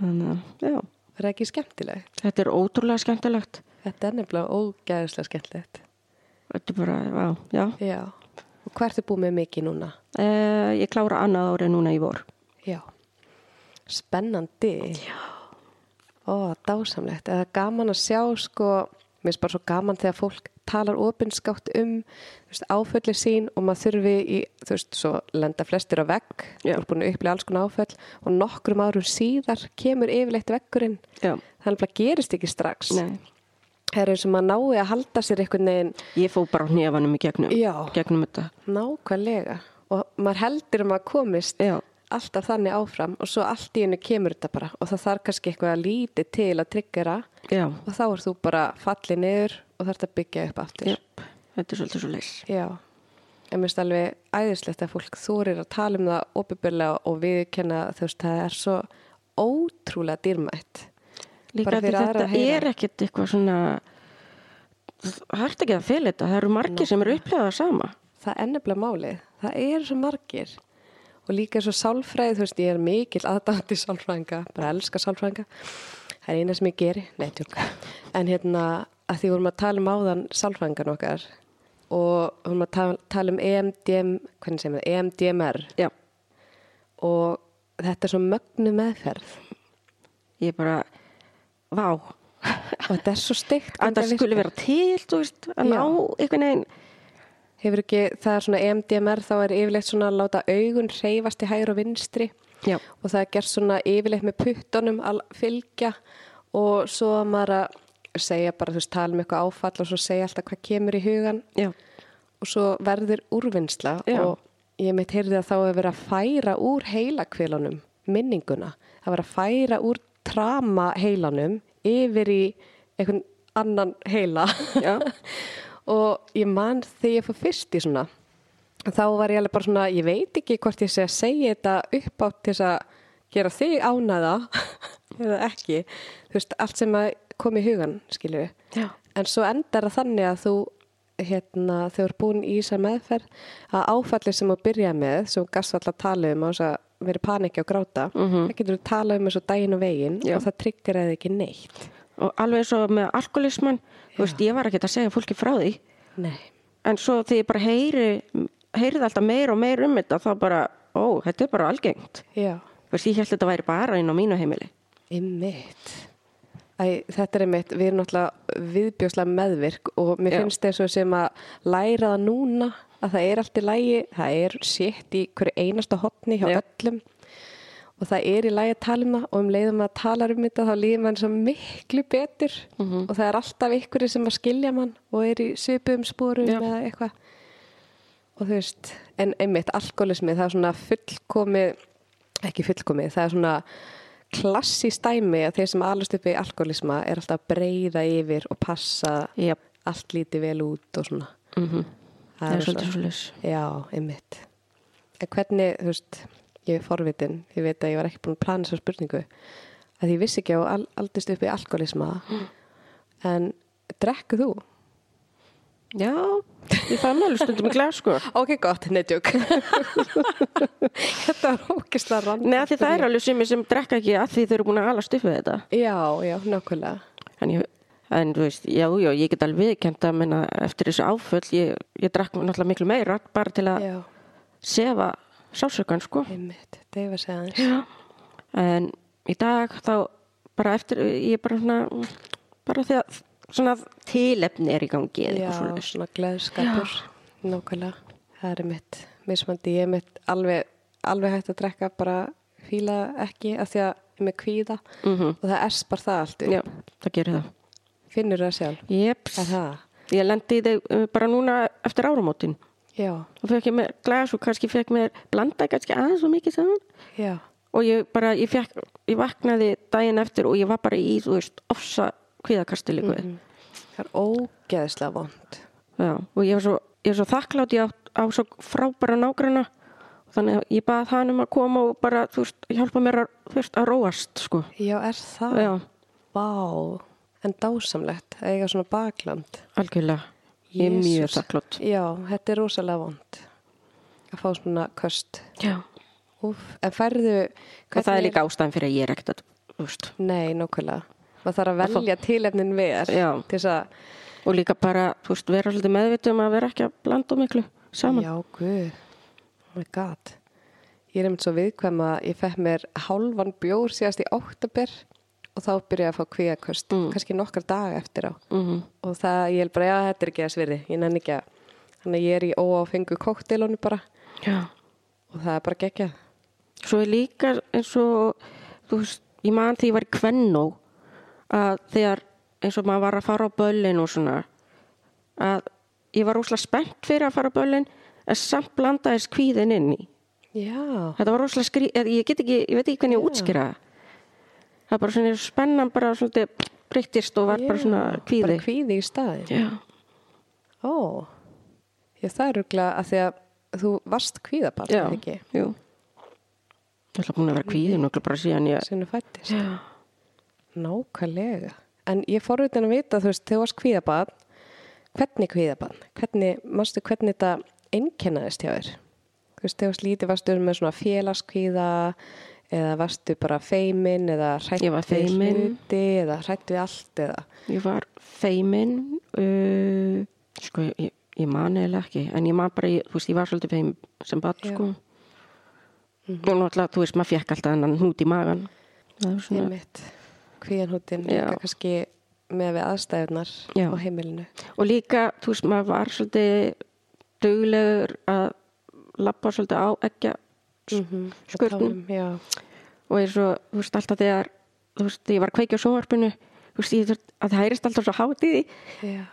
Speaker 2: þannig að já,
Speaker 1: Það er ekki skemmtilegt.
Speaker 2: þetta er ótrúlega skemmtilegt
Speaker 1: Þetta er nefnilega ógæðislega skemmtilegt.
Speaker 2: þetta er bara, vá, já
Speaker 1: Já. Og hvað ertu búið með mikið núna?
Speaker 2: uh, ég klára annað árið núna í vor
Speaker 1: Já. Spennandi. Já. Ó, dásamlegt. Eða gaman að sjá, sko, mér finnst bara svo gaman þegar fólk talar opinskátt um þú veist, áfölli sín og maður þurfi í, þú veist, svo lenda flestir á vegg, þú
Speaker 2: Já.
Speaker 1: er búin að upplifa alls konar áföll og nokkrum árum síðar kemur yfirleitt veggurinn.
Speaker 2: já,
Speaker 1: Þannig að gerist ekki strax.
Speaker 2: nei
Speaker 1: Það er eins og maður nái að halda sér einhvern veginn
Speaker 2: ég fó bara á hnefanum í gegnum
Speaker 1: Já.
Speaker 2: gegnum þetta
Speaker 1: nákvæmlega og maður heldur um að maður komist
Speaker 2: Já.
Speaker 1: alltaf þannig áfram og svo allt í hennu kemur þetta bara og það þarf kannski eitthvað að líti til að tryggjara
Speaker 2: já,
Speaker 1: og þá er þú bara fallið niður og þarf að byggja upp aftur.
Speaker 2: já, þetta er svolítið svo leys
Speaker 1: Já. Ég finnst alveg æðislegt að fólk þorir að tala um það opibörlega og viðkenna þú veist það er svo ótrúlega dýrmætt.
Speaker 2: líka
Speaker 1: Bara
Speaker 2: því
Speaker 1: fyrir aðra
Speaker 2: þetta
Speaker 1: að heyra.
Speaker 2: er ekkit eitthvað svona það er ekki að fela þetta það eru margir sem eru upplegað að sama
Speaker 1: það er nefnilega málið. Það eru svo margir og líka svo sálfræði, þú veist, ég er mikil aðdátti sálfræðinga, bara elska sálfræðinga. Það er eina sem ég geri, nei, tjók. En hérna, að því vorum að tala um áðan sálfræðingan okkar og vorum að tala, tala um EMDM, hvernig segir maður, E EMDMR
Speaker 2: já,
Speaker 1: og þetta er svo mögnu meðferð
Speaker 2: ég bara, vá
Speaker 1: og þetta er svo steikt.
Speaker 2: að það skulle vera til, þú veist að
Speaker 1: Já.
Speaker 2: ná einhvern veginn
Speaker 1: Hefur ekki, það er svona E EMDMR, þá er yfirleitt svona að láta augun reyfast í hægur og vinstri
Speaker 2: Já.
Speaker 1: og það er gert svona yfirleitt með puttunum að fylgja og svo að maður að segja bara, þú veist, tala um eitthvað áfall og svo segja alltaf hvað kemur í hugan
Speaker 2: já,
Speaker 1: og svo verður úrvinnsla
Speaker 2: Já.
Speaker 1: og ég mitt heyrði að þá hefur verið að færa úr heilakvilunum minninguna, það var að færa úr trama heilanum yfir í einhvern annan heila
Speaker 2: Já.
Speaker 1: og ég man þegar ég fór fyrst í svona þá var ég alveg bara svona, ég veit ekki hvort ég sé að segja þetta upp átt til þess að gera þig ánæða eða ekki, þú veist, allt sem að kom í hugan, skilju
Speaker 2: Já.
Speaker 1: en svo endar það þannig að þú hérna, þau eru búin í þessar meðferð að áfallið sem þú byrjaði með sem þú gast alltaf að tala um á þess að verið panikja og gráta, það getur þú talað um þessu daginn og veginn
Speaker 2: Já.
Speaker 1: og það tryggir eða ekki neitt
Speaker 2: og alveg eins og með alkoholismann þú veist, ég var ekkert að segja fólki frá því
Speaker 1: Nei,
Speaker 2: en svo því ég bara heyri heyrið alltaf meir og meir um þetta þá bara, ó, þetta er bara algengt
Speaker 1: já
Speaker 2: þú veist, ég held þetta væri bara inn á mínu heimili
Speaker 1: Einmitt. Æ, þetta er einmitt, við erum náttúrulega viðbjóslega meðvirk og mér
Speaker 2: Já.
Speaker 1: finnst þessu sem að læra það núna að það er allt í lægi, það er sétt í hverju einasta hotni hjá
Speaker 2: Já.
Speaker 1: öllum og það er í lægi að tala um það og um leiðum að tala um þetta þá líður mann svo miklu betur
Speaker 2: Mhm.
Speaker 1: og það er alltaf ykkur sem að skilja mann og er í svipum spórum
Speaker 2: Já.
Speaker 1: eða eitthvað og þú veist, en einmitt alkoholismi það er svona fullkomið ekki fullkomið, það er svona klassíst dæmi að þeir sem alast upp í alkoholisma er alltaf að breyða yfir og passa
Speaker 2: Jep.
Speaker 1: allt lítið vel út og svona
Speaker 2: Mhm. það er svolítið svo leys
Speaker 1: já, einmitt en hvernig, þú veist, ég er forvitin ég veit að ég var ekki búin að plana þessa spurningu að ég vissi ekki að al, aldist upp í alkoholisma en drekku þú?
Speaker 2: Já, ég fæ mér alveg stundum í glas sko.
Speaker 1: Ok, gott, neitjúk Þetta var ókislega rann
Speaker 2: Nei, af því það er alveg sumi sem drekka ekki að því þau eru búin að alast upp við þetta.
Speaker 1: Já, já, nákvæmlega
Speaker 2: En, ég, en þú veist, já, já, ég get alveg viðkend að minna eftir þessu áföll, ég, ég drakk náttúrulega miklu meira bara til að
Speaker 1: Já,
Speaker 2: sefa sásökan, sko.
Speaker 1: einmitt, deyfa sig aðeins
Speaker 2: Já. En í dag þá bara eftir, ég er bara svona, bara því að svona tilefni er í gangi eða
Speaker 1: Já,
Speaker 2: eitthvað svona.
Speaker 1: svona gleðskapur Nákvæmlega, það er mitt mismandi, ég er mitt alveg alveg hægt að drekka, bara fíla ekki af því að ég er með kvíða og það erspar það allt upp.
Speaker 2: Mhm. Já, það gerir það.
Speaker 1: finnur það sjálf
Speaker 2: Jeps.
Speaker 1: er það?
Speaker 2: Ég lendi í þau uh, bara núna eftir áramótin.
Speaker 1: Já,
Speaker 2: Og fekk ég mér glas og kannski fekk mér blanda kannski aðeins og mikið saman.
Speaker 1: já,
Speaker 2: Og ég bara, ég fekk, ég vaknaði daginn eftir og ég var bara í, þú veist, ofsa kviðakasti líka við.
Speaker 1: það er ógeðslega vond
Speaker 2: Já, og ég var svo, ég var svo þakklátt, ég átt á svo frábæra nágrana. Þannig að ég bað hann um að koma og bara, þú veist, hjálpa mér að, þú veist, að róast, sko.
Speaker 1: Já, er það?
Speaker 2: Já,
Speaker 1: Vá, en dásamlegt að eiga svona bakland
Speaker 2: algjörlega. Ég er mjög
Speaker 1: Jesús.
Speaker 2: þakklátt.
Speaker 1: Já, þetta er rosalega vond að fá svona köst
Speaker 2: Já.
Speaker 1: Úf, en færðu
Speaker 2: Og það
Speaker 1: hvernig
Speaker 2: er líka ástæðan fyrir að ég er ekkert að, þú veist,
Speaker 1: Nei, nákvæmlega maður þarf að velja tilefnin ver
Speaker 2: Já.
Speaker 1: til þess að,
Speaker 2: og líka bara, þú veist, vera svolítið meðvitið um að vera ekki að blanda miklu saman.
Speaker 1: já, guð oh my god ég er einmitt svo viðkvæm að ég fekk mér hálfan bjór síðast í óttabir og þá byrjaði að fá kvíaköst
Speaker 2: Mm.
Speaker 1: kannski nokkar daga eftir á
Speaker 2: Mhm.
Speaker 1: og það, ég held bara, já, þetta er ekki að svirði ég nenni ekki að, þannig að ég er í óáfengu kokteilunum bara
Speaker 2: Já.
Speaker 1: og það er bara geggjað
Speaker 2: Svo er líka eins og, þú veist, ég man því ég var í kvennó að þegar eins og maður var að fara á böllin og svona, að ég var rosalega spennt fyrir að fara á böllin en samt blandaðist kvíðin inn í.
Speaker 1: já,
Speaker 2: Þetta var rosalega skrí, eða ég get ekki, ég veit ekki hvernig ég útskýra það. Það bara svona spennan bara svona breyttist og var bara svona kvíði.
Speaker 1: bara kvíði í staði
Speaker 2: Já.
Speaker 1: ó, ég það er ruglega að því að þú varst kvíðabarn
Speaker 2: Já,
Speaker 1: er það ekki,
Speaker 2: jú. Ég ætla búin að vera kvíðin og bara síðan ég...
Speaker 1: sem þú fættist
Speaker 2: Já.
Speaker 1: Nákvæmlega. En ég fór utan að vita, þú veist, þegar þú varst kvíðabann, hvernig kvíðabann? Hvernig, manstu hvernig þetta einkennaðist hjá þér? Þú veist, þegar þú varst lítið, varstu með svona félagskvíða eða varstu bara feimin eða hrætt
Speaker 2: Ég var feimin.
Speaker 1: hluti eða hrætt við allt eða.
Speaker 2: Ég var feimin, uh, sko, ég, ég man eða ekki, en ég man bara, ég, þú veist, ég var svolítið feimin sem bat,
Speaker 1: Já.
Speaker 2: sko. Og náttúrulega, þú veist, maður fekk alltaf hennan hnút í magan. Mhm. Það er svona...
Speaker 1: Einmitt. Kvíðanhútin,
Speaker 2: Já.
Speaker 1: líka kannski með við aðstæðunar
Speaker 2: Já.
Speaker 1: á heimilinu.
Speaker 2: Og líka, þú veist, maður var svolítið duglegur að lappa svolítið á ekki
Speaker 1: Og
Speaker 2: skurnum.
Speaker 1: tánum, Já,
Speaker 2: og eins og, þú veist, alltaf þegar þú veist, ég var að kveikja á sjónvarpinu þú veist, ég þurft að það hærist alltaf svo hátíði
Speaker 1: já.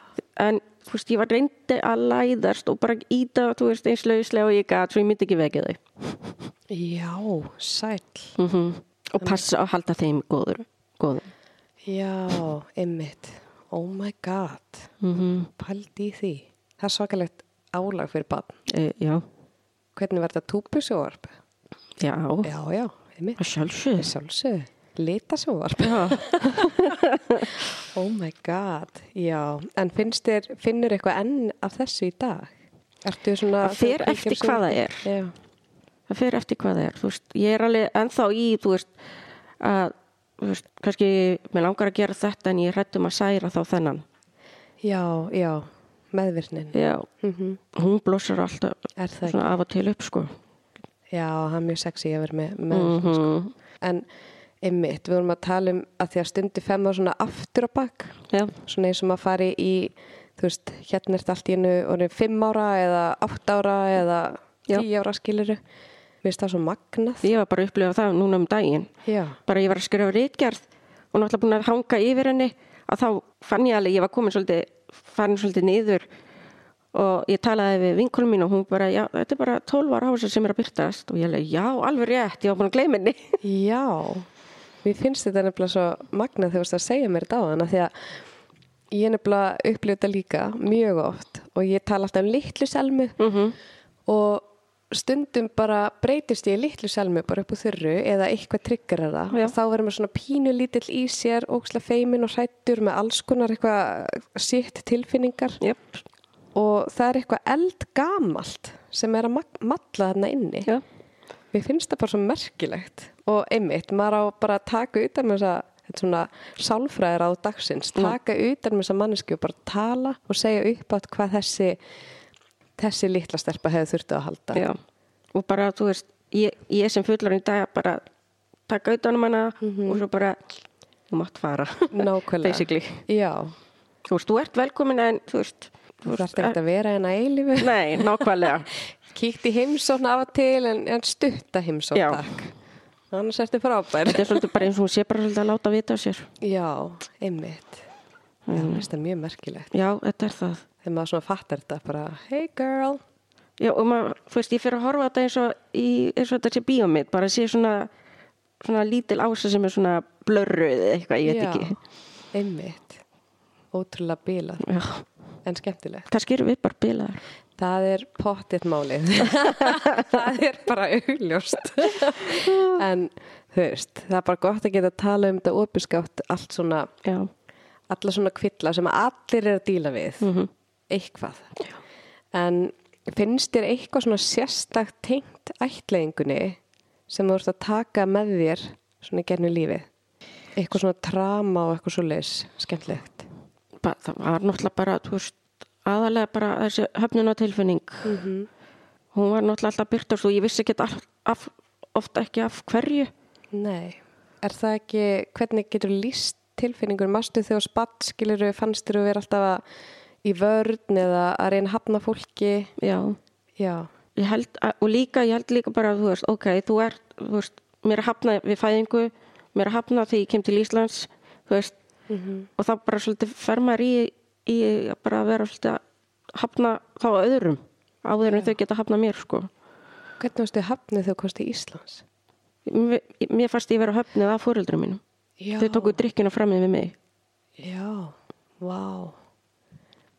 Speaker 2: en, þú veist, ég var reyndi að læðast og bara íta, þú veist, eins lauslega og ég gat, svo ég myndi ekki vekja þau
Speaker 1: Já, sæll.
Speaker 2: mm og passa að halda þeim góður, góður.
Speaker 1: Já, einmitt. Oh my god.
Speaker 2: Mm
Speaker 1: Paldi í því. Það er svakalegt álag fyrir barn.
Speaker 2: e, já,
Speaker 1: Hvernig var þetta túpusjóvarp?
Speaker 2: já,
Speaker 1: Já, já, einmitt.
Speaker 2: að sjálfsögð
Speaker 1: Sjálfsög, litasjóvarp.
Speaker 2: Já.
Speaker 1: Oh my god, já. En finnst þér, finnur eitthvað enn af þessu í dag? Ertu svona...
Speaker 2: Það fer eftir hvað það er.
Speaker 1: Já,
Speaker 2: það fer eftir hvað það er, þú veist, ég er alveg ennþá í, þú veist, að þú veist, kannski, mér langar að gera þetta en ég hrættum að særa þá þennan
Speaker 1: já, já. meðvirknin. Mhm.
Speaker 2: já, hún blossar alltaf
Speaker 1: Er það
Speaker 2: svona af og til upp sko
Speaker 1: Já, það er mjög sexy að vera með, með
Speaker 2: Mhm.
Speaker 1: en einmitt, við vorum að tala um að því að stundu fem var svona aftur á bakk
Speaker 2: Já.
Speaker 1: svona eins og maður fari í þú veist, hérna ert allt í hennu orðin fimm ára eða átt ára eða
Speaker 2: Já.
Speaker 1: tíu ára skiluru mér finnst það svo magnað
Speaker 2: Ég var bara að upplifa það núna um daginn
Speaker 1: já,
Speaker 2: bara ég var að skrifa reitgerð og náttúrulega búin að hanga yfir henni að þá fann ég alveg, ég var komin svolítið farin svolítið niður og ég talaði við vinkulum mín og hún bara já, þetta er bara 12 ára hása sem er að byrtast og ég alveg, já, alveg rétt, ég var búin að gleyma henni
Speaker 1: já mér finnst þetta nefnilega svo magnað þegar þú veist að segja mér þetta á hana því að ég nefnilega upplifa þetta líka mjög oft og ég tala alltaf um litlu selmu
Speaker 2: Mhm.
Speaker 1: og stundum bara breytist ég í litlu selmu bara upp úr þurru eða eitthvað triggerar það
Speaker 2: Já.
Speaker 1: og þá verður maður svona pínu lítill í sér ókslega feimin og hrættur með alls konar eitthvað sitt tilfinningar
Speaker 2: Jöp,
Speaker 1: og það er eitthvað eldgamalt sem er að mag- malla þarna inni
Speaker 2: já,
Speaker 1: Mér finnst það bara svo merkilegt og einmitt, maður á bara að taka utan með þessa þetta er svona sálfræðir á dagsins
Speaker 2: Mm.
Speaker 1: taka utan með þessa manneski og bara tala og segja upp átt hvað þessi þessi litla stelpa hefði þurfti að halda
Speaker 2: já. Og bara, þú veist, ég, ég sem fullar í dag bara taka utanum hana og svo bara, þú mátt fara.
Speaker 1: Mhm. Nákvæmlega
Speaker 2: Basically.
Speaker 1: Já,
Speaker 2: Þú veist, þú ert velkomin en, þú veist, eh,
Speaker 1: þú þarf ekkert að vera en að eilífu
Speaker 2: Nei, nákvæmlega.
Speaker 1: Kíkt í heimsókn af að til en, en stutta heimsókn
Speaker 2: Já.
Speaker 1: takk Annars ertu frábær
Speaker 2: Þetta er svolítið bara eins og hún sé bara svolítið að láta vita á sér.
Speaker 1: Já, einmitt Já, mér finnst það mjög merkilegt
Speaker 2: Já, þetta er það.
Speaker 1: þegar maður svona fattar þetta bara, hey girl
Speaker 2: Já, og maður, þú veist, ég fyrir að horfa á þetta eins og, í, eins og þetta sé bíómið, bara sé svona, svona lítil ása sem er svona blörruð eða eitthvað, ég veit ekki.
Speaker 1: Einmitt. Ótrúlega bílað,
Speaker 2: Já,
Speaker 1: en skemmtilegt.
Speaker 2: kannski eru við bara bilaðar.
Speaker 1: Það er pottitt málið. það er bara augljóst. en þú veist, það er bara gott að geta að tala um þetta opinskátt allt svona,
Speaker 2: Já,
Speaker 1: alla svona kvilla sem allir er að díla við. Eitthvað. Mhm. Já. En finnst þér eitthvað svona sérstakt tengt ættleðingunni sem þú ert að taka með þér svona í gernu lífið? Eitthvað svona trama og eitthvað svo leis, skemmtilegt.
Speaker 2: ba, það var náttúrulega bara, þú veist, aðalega bara þessi höfnunatilfinning. Hún var náttúrulega alltaf byrtast og ég vissi ekki af, af, ofta ekki af hverju.
Speaker 1: Nei, er það ekki, hvernig getur lýst tilfinningur, mastu þegar spatt skilur fannst þér að vera alltaf að í vörn eða að reyna að hafna fólki
Speaker 2: Já.
Speaker 1: já,
Speaker 2: ég held að, og líka, ég held líka bara þú veist, ok, þú ert, þú veist mér er hafnað við fæðingu, mér er hafnað þegar ég kem til Íslands, þú veist
Speaker 1: Mhm.
Speaker 2: og þá bara svolítið fer maður í, í að bara að vera svolítið að hafna þá að öðrum áður en þau geta hafnað mér, sko
Speaker 1: hvernig varstu hafnið þegar þú komst í Íslands
Speaker 2: mér, mér fannst ég vera höfnið af fóreldrum mínum
Speaker 1: já,
Speaker 2: þau tóku drikkina framið við mig
Speaker 1: já, vá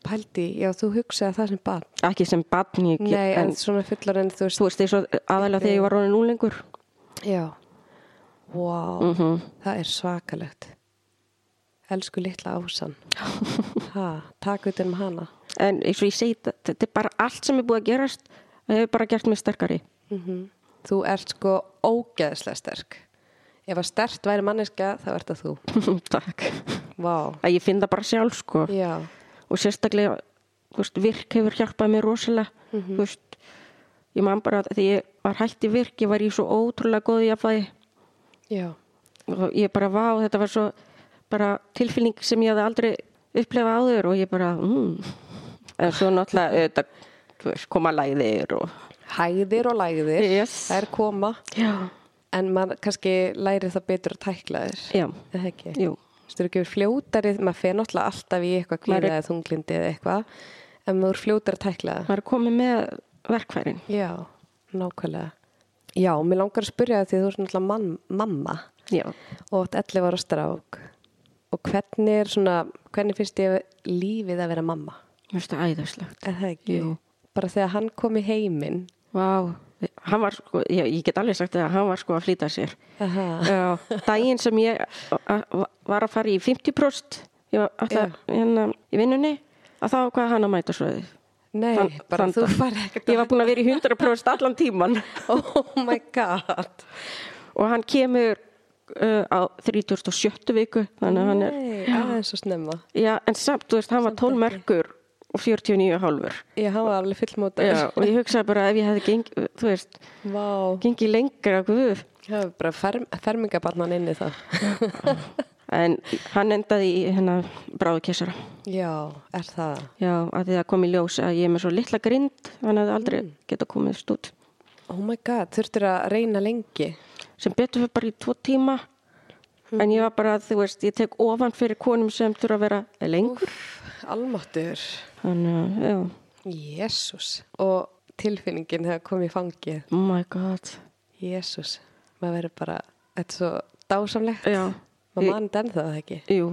Speaker 1: pældi, já þú hugsaði það sem barn
Speaker 2: ekki sem batn ég
Speaker 1: nei, en, svona fullar en þú veist
Speaker 2: þú veist, eins og aðalega þegar ég var ronin úlengur
Speaker 1: já, vá
Speaker 2: Mhm.
Speaker 1: það er svakalegt elsku litla ásan ha, takk utan um hana
Speaker 2: en eins og ég segi, þetta- þetta er bara allt sem er búið að gerast, það hefur bara gert mig sterkari
Speaker 1: Mhm. Þú ert sko ógeðslega sterk. Ef að stert væri manneska, þá ert það þú.
Speaker 2: Takk.
Speaker 1: Vá.
Speaker 2: Að ég finn það bara sjálf sko
Speaker 1: Já,
Speaker 2: og sérstaklega þú veist, virk hefur hjálpað mér rosalega þú veist, ég man bara að því ég var hætti virk, ég var í svo ótrúlega góðu jafnvægi
Speaker 1: já,
Speaker 2: og ég bara vá, þetta var svo bara tilfinning sem ég hafði aldrei upplefað áður og ég bara mm. en svo náttúrulega þetta, veist, koma læðir og
Speaker 1: hæðir og læðir.
Speaker 2: Yes.
Speaker 1: Það er koma,
Speaker 2: já,
Speaker 1: en maður kannski læri það betur að tækla þér.
Speaker 2: já,
Speaker 1: Er Það ekki.
Speaker 2: jú
Speaker 1: Þú veist, þú eru ekki fljótarið, maður fer náttúrulega alltaf í eitthvað
Speaker 2: Maður
Speaker 1: kvíða
Speaker 2: er-
Speaker 1: eða þunglindi eða eitthvað, en maður er fljótar að tækla það.
Speaker 2: maður er komið með verkfærin
Speaker 1: Já, nákvæmlega. Já, mér langar að spyrja það því þú ert náttúrulega mann, mamma.
Speaker 2: já,
Speaker 1: og átt 11 ára strák og hvernig er svona hvernig finnst ég lífið að vera mamma
Speaker 2: mér finnst það æðislegt
Speaker 1: er það ekki?
Speaker 2: Jú.
Speaker 1: bara þegar hann kom í heiminn
Speaker 2: Vá, hann var sko, ég, ég get alveg sagt það, hann var sko að flýta sér.
Speaker 1: aha,
Speaker 2: Já, daginn sem ég a- a- var að fara í 50% ég var alltaf hérna í vinnunni, að þá hvað hann að mæta svo þið.
Speaker 1: nei,
Speaker 2: Þann-
Speaker 1: bara
Speaker 2: þann
Speaker 1: þú
Speaker 2: dag.
Speaker 1: farið ekkert
Speaker 2: Ég var búin að vera í 100% allan tíman
Speaker 1: oh my god
Speaker 2: og hann kemur uh, á 37. viku, þannig að hann er,
Speaker 1: nei, aðeins svo snemma
Speaker 2: já, en samt, þú veist, hann var 12 merkur og 49 hálfur.
Speaker 1: já, hann var alveg fullmóta
Speaker 2: Já, og ég hugsaði bara ef ég hefði gengið, þú veist,
Speaker 1: vá,
Speaker 2: gengið lengra, guð,
Speaker 1: það var bara ferm, fermingabarnan inn í það
Speaker 2: en hann endaði í hennar bráðukessara.
Speaker 1: já, er það
Speaker 2: Já, að því það kom í ljós að ég er með svo litla grind, hann hefði aldrei mm. geta komist út.
Speaker 1: oh my god, þurftur að reyna lengi
Speaker 2: Sem betur fyrir bara í tvo tíma, en ég var bara, þú veist, ég tek ofan fyrir konum sem þurfa að vera lengur.
Speaker 1: almáttur
Speaker 2: Þannig að, já,
Speaker 1: jésús og tilfinningin þegar kom í fangið
Speaker 2: oh my god.
Speaker 1: Jésús, maður verður bara, þetta er svo dásamlegt.
Speaker 2: Já.
Speaker 1: Maður mann den það eða ekki.
Speaker 2: Jú,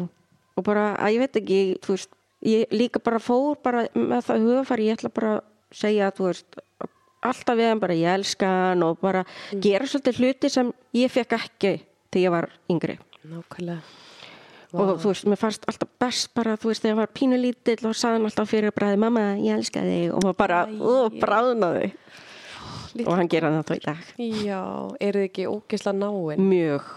Speaker 2: og bara, að ég veit ekki, þú veist, ég líka bara fór bara með það hugafæri, ég ætla bara að segja, þú veist, að alltaf við hann bara ég elska hann og bara gera svolítið hluti sem ég fekk ekki þegar ég var yngri
Speaker 1: Nákvæmlega.
Speaker 2: og þú veist, mér fannst alltaf best bara, þú veist, þegar hann var pínulítill og sagði hann alltaf fyrir bræði, mamma, ég elska þig og maður bara, ó, bráðnaði og hann gera það þá í dag
Speaker 1: Já, eru þið ekki ógisla náin?
Speaker 2: mjög,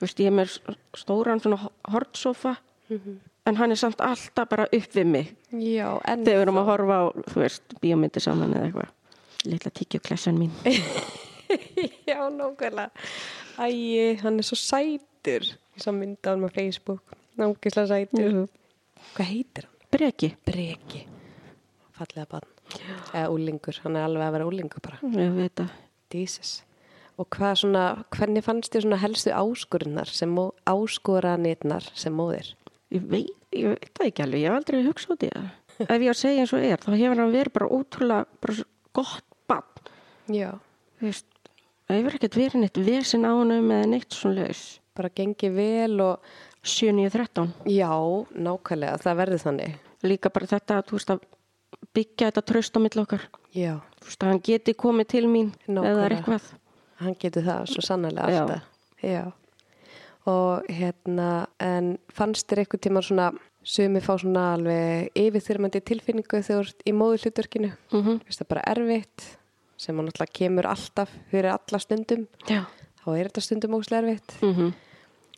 Speaker 2: þú veist, ég er með stóran svona hortsofa en hann er samt alltaf bara upp við mig
Speaker 1: Já, en
Speaker 2: þegar við erum að horfa á, þú veist, bíómyndir saman eða eitthvað, litla tyggjuklessan mín
Speaker 1: Já, nákvæmlega. Æi, hann er svo sætur. Ég sá mynda hann á Facebook. Nákvæmlega sætur. Hvað heitir hann?
Speaker 2: breki
Speaker 1: Breki. Fallega barn. Eða úlingur. Hann er alveg að vera úlingur bara.
Speaker 2: ég veit að
Speaker 1: Jesus. Og hvað svona, hvernig fannst þér svona helstu áskorunar sem mó, áskoranirnar sem móðir?
Speaker 2: ég veit, ég veit það ekki alveg, ég hef aldrei hugsað út í það ef ég á að segja eins og er, þá hefur hann verið bara ótrúlega bara svo gott bann
Speaker 1: Já.
Speaker 2: þú veist, það hefur ekkert verið neitt vesen á honum eða neitt svona laus
Speaker 1: Bara gengið vel og
Speaker 2: 7.9.13
Speaker 1: já, nákvæmlega, það verður þannig.
Speaker 2: líka bara þetta, þú veist, að byggja þetta tröst á milli okkar
Speaker 1: Já.
Speaker 2: þú veist, að hann geti komið til mín
Speaker 1: Nákvæmlega.
Speaker 2: eða það er eitthvað
Speaker 1: Hann getur það svo sannlega
Speaker 2: Já.
Speaker 1: alltaf. Já. Og hérna, en fannst þér eitthvað tíma svona, sumi fá svona alveg yfirþyrmandi tilfinningu þegar þú ert í móður hlutverkinu? Mm
Speaker 2: Mhm.
Speaker 1: -hmm. Veist það bara erfitt, sem hann alltaf kemur alltaf fyrir alla stundum.
Speaker 2: Já.
Speaker 1: Þá er þetta stundum óslega erfitt.
Speaker 2: mm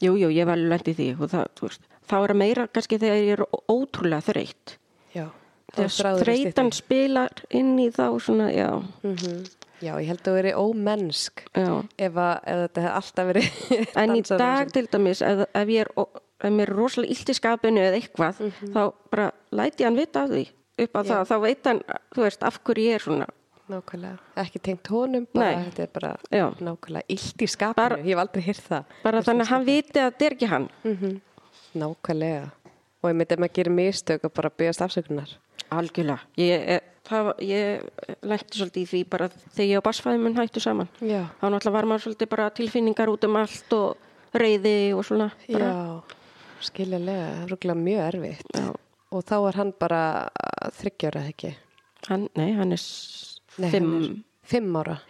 Speaker 2: Jú, jú, ég hef alveg lent í því og það, þú veist, þá er það meira kannski þegar ég er ó- ótrúlega þreytt
Speaker 1: Já. Þá er
Speaker 2: þegar
Speaker 1: þráðurinn
Speaker 2: þreytan
Speaker 1: styttri.
Speaker 2: spilar inn í þá svona, já,
Speaker 1: Mhm. Já, ég held að það verið ómennsk
Speaker 2: já
Speaker 1: ef, að, ef þetta hefði alltaf verið
Speaker 2: en í
Speaker 1: dansarinn sem-
Speaker 2: dag til dæmis ef, ef ég er, ó- ef mér er rosalega illt í skapinu eða eitthvað, þá bara læti hann vita af því upp á það, þá veit hann, þú veist, af hverju ég er svona
Speaker 1: Nákvæmlega, ekki tengt honum bara,
Speaker 2: Nei.
Speaker 1: þetta er bara
Speaker 2: Já.
Speaker 1: nákvæmlega illt í skapinu, ég hef aldrei hýrt það
Speaker 2: bara þannig að hann viti að þetta er ekki hann
Speaker 1: Nákvæmlega og ég myndi að maður gerir mistök og bara byggast afsökunar
Speaker 2: algjörlega, ég, eh, það, var- ég lenti svolítið í því bara þegar ég og basfæði mun hættu saman
Speaker 1: Já,
Speaker 2: þá náttúrulega var maður svolítið bara tilfinningar út um allt og reyði og svona bara,
Speaker 1: Já. skiljulega, það er rúglega mjög erfitt
Speaker 2: Já.
Speaker 1: og þá er hann bara uh, þryggjóra ekki
Speaker 2: hann, nei, hann er s-
Speaker 1: Nei,
Speaker 2: fimm
Speaker 1: hann er Fimm ára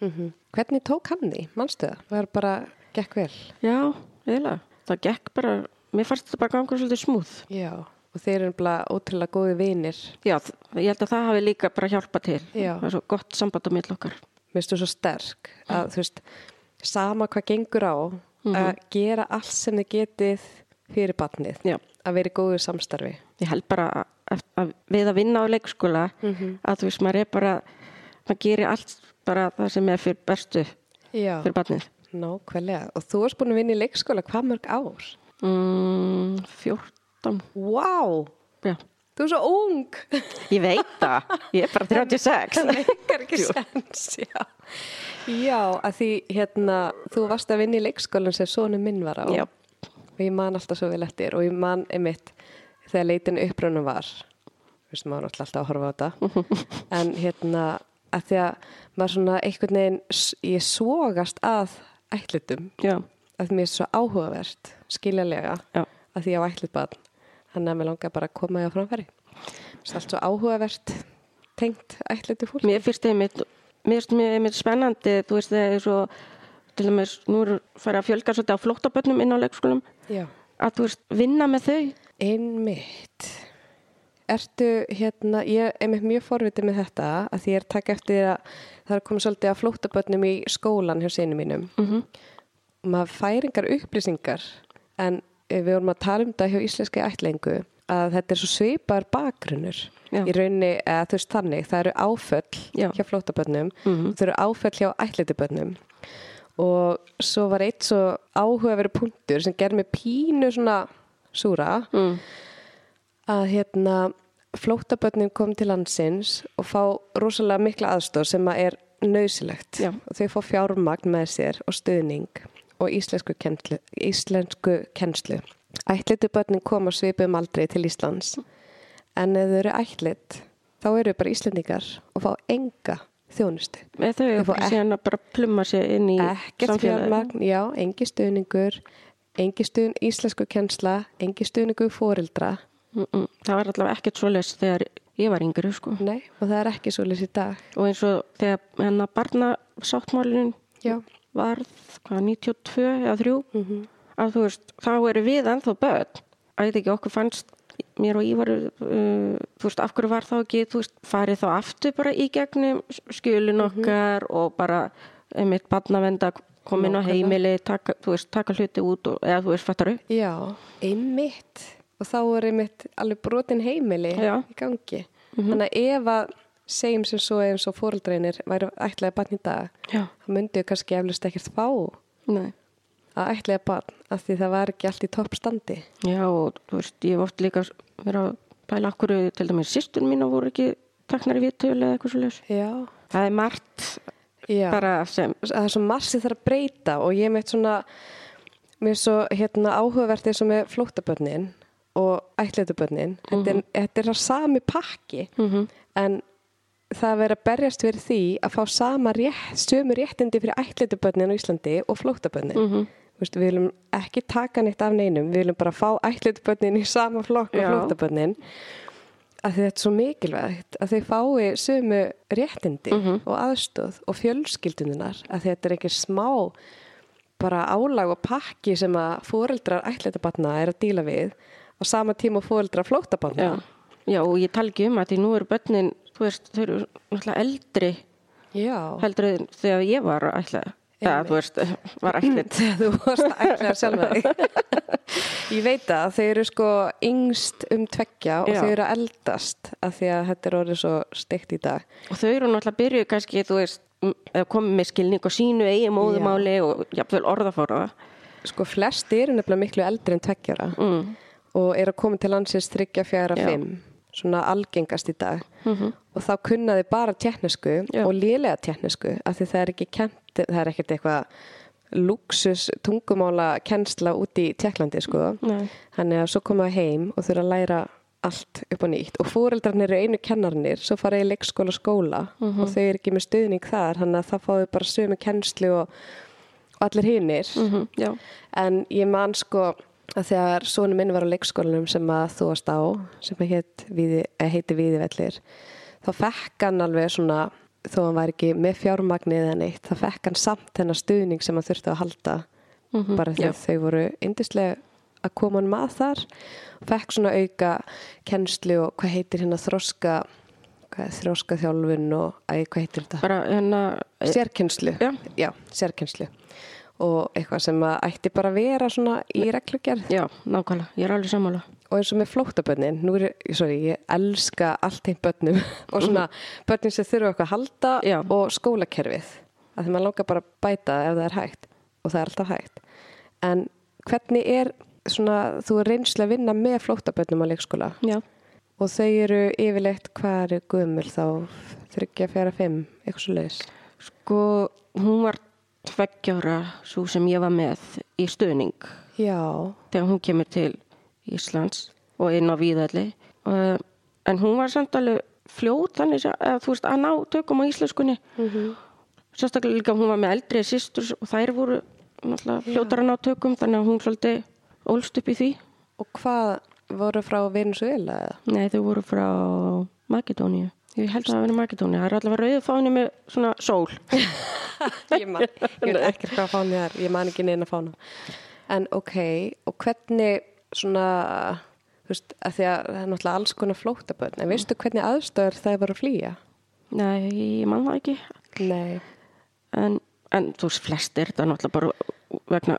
Speaker 1: mm Hvernig tók hann því, manstu það? Það er bara, gekk vel
Speaker 2: já, eiginlega, það gekk bara mér fannst þetta bara gangur svolítið smúð
Speaker 1: Já, og þeir eru bara ótrúlega góði vinir
Speaker 2: já, þ- ég held að það hafi líka bara hjálpa til
Speaker 1: Já.
Speaker 2: það er svo gott samband á mill okkar
Speaker 1: mér finnst þú svo sterk að þú veist, sama hvað gengur á að gera allt sem þið getið fyrir barnið
Speaker 2: Já.
Speaker 1: að vera í góðu samstarfi
Speaker 2: ég held bara að, að- að við að vinna á leikskóla
Speaker 1: Mhm.
Speaker 2: að þú veist, maður er bara maður gerir allt bara það sem er fyrir bestu
Speaker 1: Já,
Speaker 2: fyrir barnið
Speaker 1: nákvæmlega og þú erst búin að vinna í leikskóla hvað mörg ár?
Speaker 2: mm, 14
Speaker 1: Vá, wow,
Speaker 2: já.
Speaker 1: þú er svo ung
Speaker 2: ég veit það, ég er bara 36
Speaker 1: það meikar ekki sens já. já, að því hérna, þú varst að vinna í leikskólan sem sonu minn var á
Speaker 2: Já.
Speaker 1: og ég man alltaf svo vel eftir og ég man einmitt þegar leitin upprönnum var þú veist maður er náttúrulega alltaf að horfa á þetta en hérna að því að maður svona einhvern veginn s- ég sogast að ætlutum
Speaker 2: já,
Speaker 1: að mér er svo áhugavert skiljanlega
Speaker 2: Já.
Speaker 1: að því ég á ætlut barn þannig að mér langar bara að koma því á framfæri það er allt svo áhugavert tengt ætlutu fólk
Speaker 2: Mér finnst einmitt, mér finnst mjög einmitt spennandi, þú veist það er svo, til dæmis, nú eru farið að fjölga svolítið á flóttabönnum inn á leikskólum,
Speaker 1: Já.
Speaker 2: að þú veist, vinna með þau.
Speaker 1: Einmitt. Ertu hérna, ég er mér mjög forvitið með þetta að því ég er að taka eftir að það er komið svolítið að flóttabötnum í skólan hjá sinni mínum. Mm
Speaker 2: Mhm.
Speaker 1: -hmm. Maður færingar upplýsingar en eh, við vorum að tala um þetta hjá íslenski ætlingu að þetta er svo svipar bakgrunnur
Speaker 2: Já.
Speaker 1: í raunni eða þú veist þannig, það eru áföll
Speaker 2: Já. Mhm.
Speaker 1: hjá flóttabötnum, mm það eru áföll hjá ætlitubötnum og svo var eitt svo áhugaveru punktur sem gerði mig pínu svona súra
Speaker 2: Mm.
Speaker 1: að hérna flóttabötnin kom til landsins og fá rosalega mikla aðstóð sem að er nöðsilegt
Speaker 2: Já.
Speaker 1: og þau fá fjármagn með sér og stuðning og íslensku kennslu, íslensku kennslu. Ætlitu bötnin kom á svipum aldrei til Íslands en ef þau eru ætlit þá eru þau bara Íslendingar og fá enga þjónustu.
Speaker 2: Með þau
Speaker 1: Þau
Speaker 2: er
Speaker 1: fá
Speaker 2: bara
Speaker 1: ek-
Speaker 2: síðan að bara plumma sér inn í
Speaker 1: Ekkert fjármagn, já, engi stuðningur, engi stuðn, íslensku kennsla, engi stuðningu fóreldra.
Speaker 2: Mm -mm. Það var allavega ekkert svoleiðis þegar ég var yngri sko
Speaker 1: Nei, og það er ekki svo í dag.
Speaker 2: og eins og þegar hérna hennar barnasáttmálin
Speaker 1: Já.
Speaker 2: varð hvað, 92 eða 3
Speaker 1: Mhm.
Speaker 2: að þú veist, þá eru við ennþá börn að ég veit ekki okkur fannst mér og Ívar uh, þú veist, af hverju var þá ekki þú veist, farið þá aftur bara í gegnum skjölin
Speaker 1: Mhm.
Speaker 2: okkar og bara einmitt barnavenda komin á
Speaker 1: Nákvæmlega.
Speaker 2: heimili, taka, þú veist, taka hluti út og, eða þú veist, fattar upp
Speaker 1: Já, einmitt. Og þá er einmitt alveg brotin heimili
Speaker 2: Já.
Speaker 1: í gangi. Þannig að ef að segjum sem svo eins og fóreldreinir væri ætlaði barn í dag,
Speaker 2: Já,
Speaker 1: þá myndi ég kannski eflust ekkert fá að
Speaker 2: nei
Speaker 1: ætlaði barn af því það var ekki allt í toppstandi.
Speaker 2: Já, og þú veist, ég hef oft líka verið að pæla okkur, til dæmis sýstur mín og voru ekki taknar í viðtölu eða eitthvað svo leys.
Speaker 1: Já.
Speaker 2: Það er margt
Speaker 1: Já.
Speaker 2: bara sem,
Speaker 1: að það er svo margt sem þarf að breyta og ég meitt svona mér er svo hérna áhugavert eins og með flóttabönnin og ætlætubönnin þetta, er- þetta er það sami pakki -hmm. en það er verið að berjast fyrir því að fá sama rétt, sömu réttindi fyrir ætlætubönnin á Íslandi og flóttabönnin
Speaker 2: Mhm.
Speaker 1: -hmm. Vist, við viljum ekki taka neitt af neinum við viljum bara fá ætlætubönnin í sama flokk og
Speaker 2: Já.
Speaker 1: flóttabönnin að því þetta er svo mikilvægt að þau fái sömu réttindi og aðstöð og fjölskyldununar að þetta er ekki smá bara álag og pakki sem að fóreldrar ætlætabatna er að díla við á sama tíma og fóreldrar flóttabatna
Speaker 2: já. já, og ég tala ekki um að því nú eru börnin, þú veist, þau eru náttúrulega eldri
Speaker 1: Já.
Speaker 2: heldur en þegar ég var ætlaði, það, þú veist, var ætlit.
Speaker 1: þú varst að ætla sjálfa þig ég veit að þau eru sko yngst um tveggja og
Speaker 2: Já.
Speaker 1: þau eru að eldast að því að þetta er orðið svo steikt í dag
Speaker 2: Og þau eru náttúrulega byrjuð kannski, þú veist, m- eða komið með skilning og sínu eigin móðumáli og jafnvel orðafóraða.
Speaker 1: Sko flesti eru nefnilega miklu eldri en tveggjara mm. og eru að koma til landsins þryggja, fjara,
Speaker 2: Já. Mhm.
Speaker 1: fimm svona algengast í dag og þá kunnaði bara tjeknisku
Speaker 2: Já.
Speaker 1: og lélega tjeknisku af því það er ekki kent, það er ekkert eitthvað luxus tungumála kennsla út í Tjekklandi sko
Speaker 2: Nei.
Speaker 1: þannig að svo koma þau heim og þurfa að læra allt upp á nýtt og fóreldrarnir eru einu kennarnir svo fara í leikskóla skóla
Speaker 2: Mhm.
Speaker 1: og þau eru ekki með stuðning þar þannig að það fáðu bara sömu kennslu og, og allir hinnir
Speaker 2: Já,
Speaker 1: En ég man sko að þegar sonu minn var á leikskólanum sem að þú varst á, sem að heit, viði, eh, heiti Víðivellir, þá fekk hann alveg svona, þó hann var ekki með fjármagnið eða neitt, þá fekk hann samt þennan stuðning sem hann þurfti að halda
Speaker 2: Mhm,
Speaker 1: bara því að þau voru yndislega að koma hann mað þar fekk svona auka kennslu og hvað heitir hérna þroska hvað er þroska þjálfun og æ, hvað heitir þetta?
Speaker 2: bara hérna, e, hennar,
Speaker 1: sérkennslu
Speaker 2: Eh, Já.
Speaker 1: sérkennslu og eitthvað sem að ætti bara að vera svona í reglugerð
Speaker 2: já, nákvæmlega, ég er alveg sammála.
Speaker 1: og eins og með flóttabönnin nú er, sorry, ég elska allt þeim bönnum og svona bönnin sem þurfa eitthvað að halda
Speaker 2: Já.
Speaker 1: og skólakerfið að því maður langar bara að bæta ef það er hægt og það er alltaf hægt en hvernig er svona þú er reynslega að vinna með flóttabönnum á leikskóla
Speaker 2: Já.
Speaker 1: og þau eru yfirleitt hvað eru gömul þá þryggja, fjara, fimm, eitthvað svo leiðis
Speaker 2: Sko, hún var tveggjára svo sem ég var með í stuðning
Speaker 1: já,
Speaker 2: þegar hún kemur til Íslands og inn á Víðalli. Uh, en hún var samt alveg fljót þannig að eða, þú veist að ná tökum á íslenskunni. Sérstaklega líka hún var með eldri sýstur og þær voru náttúrulega fljótar að ná tökum þannig að hún svolítið ólst upp í því.
Speaker 1: Og hvað voru frá Venezuela eða?
Speaker 2: Nei, þau voru frá Makedóníu. Ég held að það hafi verið Makedóníu. Það er allavega rauðu fáinu með svona sól.
Speaker 1: Ég man, ég veit ekkert hvað fáni það er, ég man ekki neina fána. En ok, og hvernig svona, þú veist, að því að það er náttúrulega alls konar flóttabörn, en veistu hvernig aðstöður það voru að flýja?
Speaker 2: Nei, ég man það ekki.
Speaker 1: Nei.
Speaker 2: en, en þú veist flestir þetta er náttúrulega bara vegna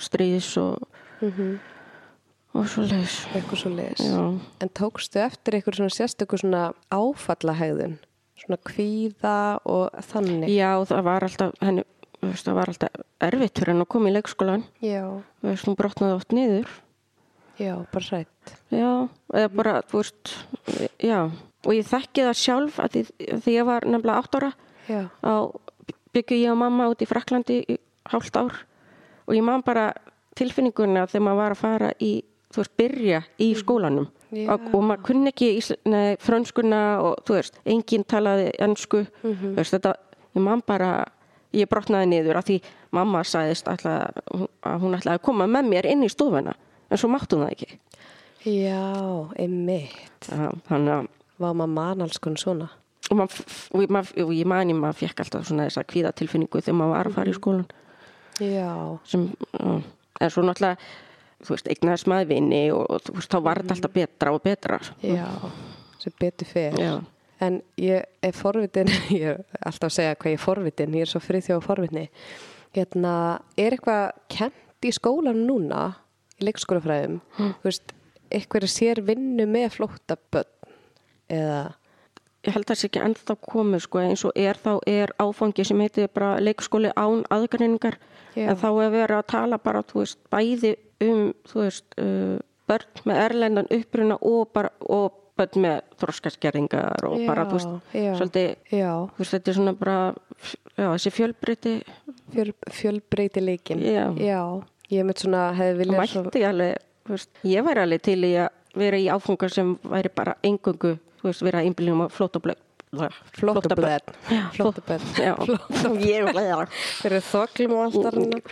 Speaker 2: stríðis og og svo leis
Speaker 1: Eitthvað svo leis.
Speaker 2: Já.
Speaker 1: En tókstu eftir eitthvað svona sérstökur svona áfallahægðun, svona kvíða og þannig?
Speaker 2: já það var alltaf henni, þú veist, það var alltaf erfitt fyrir henni að koma í leikskólan
Speaker 1: Já.
Speaker 2: Þú veist, hún brotnaði oft niður
Speaker 1: Já, bara hrætt.
Speaker 2: já, eða bara, þú veist já, og ég þekki það sjálf að því, að því ég var nefnilega átt ára
Speaker 1: Já.
Speaker 2: á, byggju ég og mamma út í Fraklandi í hálft ár og ég man bara tilfinninguna þegar maður var að fara í þú veist, byrja í skólanum
Speaker 1: Já.
Speaker 2: og, og maður kunni ekki ísl, nei, frönskuna og þú veist, enginn talaði ennsku, þú veist, þetta ég man bara, ég brotnaði niður af því mamma sagðist ætla, að hún ætlaði að koma með mér inn í stofuna en svo máttu hún það ekki
Speaker 1: Já, einmitt.
Speaker 2: Þannig að
Speaker 1: var maður man alls konar svona.
Speaker 2: og, mað, og, ég- maður- og ég mani maður fekk alltaf svona þessa kvíðatilfinningu þegar maður var að fara í skólan
Speaker 1: Já,
Speaker 2: sem, mm, en svo náttúrulega þú veist, eignaðist maður vini og, og þú veist, þá var
Speaker 1: Mm.
Speaker 2: þetta alltaf betra og betra
Speaker 1: já, sem betur fer.
Speaker 2: Já.
Speaker 1: En ég er forvitin, ég er alltaf að segja hvað ég er forvitin, ég er svo frið þjóð forvitni. Hérna, er eitthvað kent í skólan núna, í leikskólafræðum,
Speaker 2: Hm.
Speaker 1: þú veist, eitthvað sér vinnu með flóttabönd eða,
Speaker 2: ég held að það sé ekki ennþá komið sko, eins og er þá er áfangi sem heitir bara leikskóli án aðgreiningar
Speaker 1: Já.
Speaker 2: en þá er verið að tala bara þú veist, bæði um þú veist, uh, börn með erlendan uppruna og, bara, og börn með þroskaskerðingar og bara þú veist,
Speaker 1: Já, já.
Speaker 2: svolítið
Speaker 1: já,
Speaker 2: þú veist, þetta er svona bara já, þessi fjölbreyti
Speaker 1: fjöl, fjölbreytileikin.
Speaker 2: Já.
Speaker 1: ég mitt svona hefði viljað
Speaker 2: mætti alveg, þú veist, ég væri alveg til í að vera í áfanga sem væri bara engöngu, þú veist, vera einbýlingum á flótt og blöð
Speaker 1: Flóttaböð. Flóttaböð.
Speaker 2: Já, ég var leiða
Speaker 1: Fyrir þoklum og allt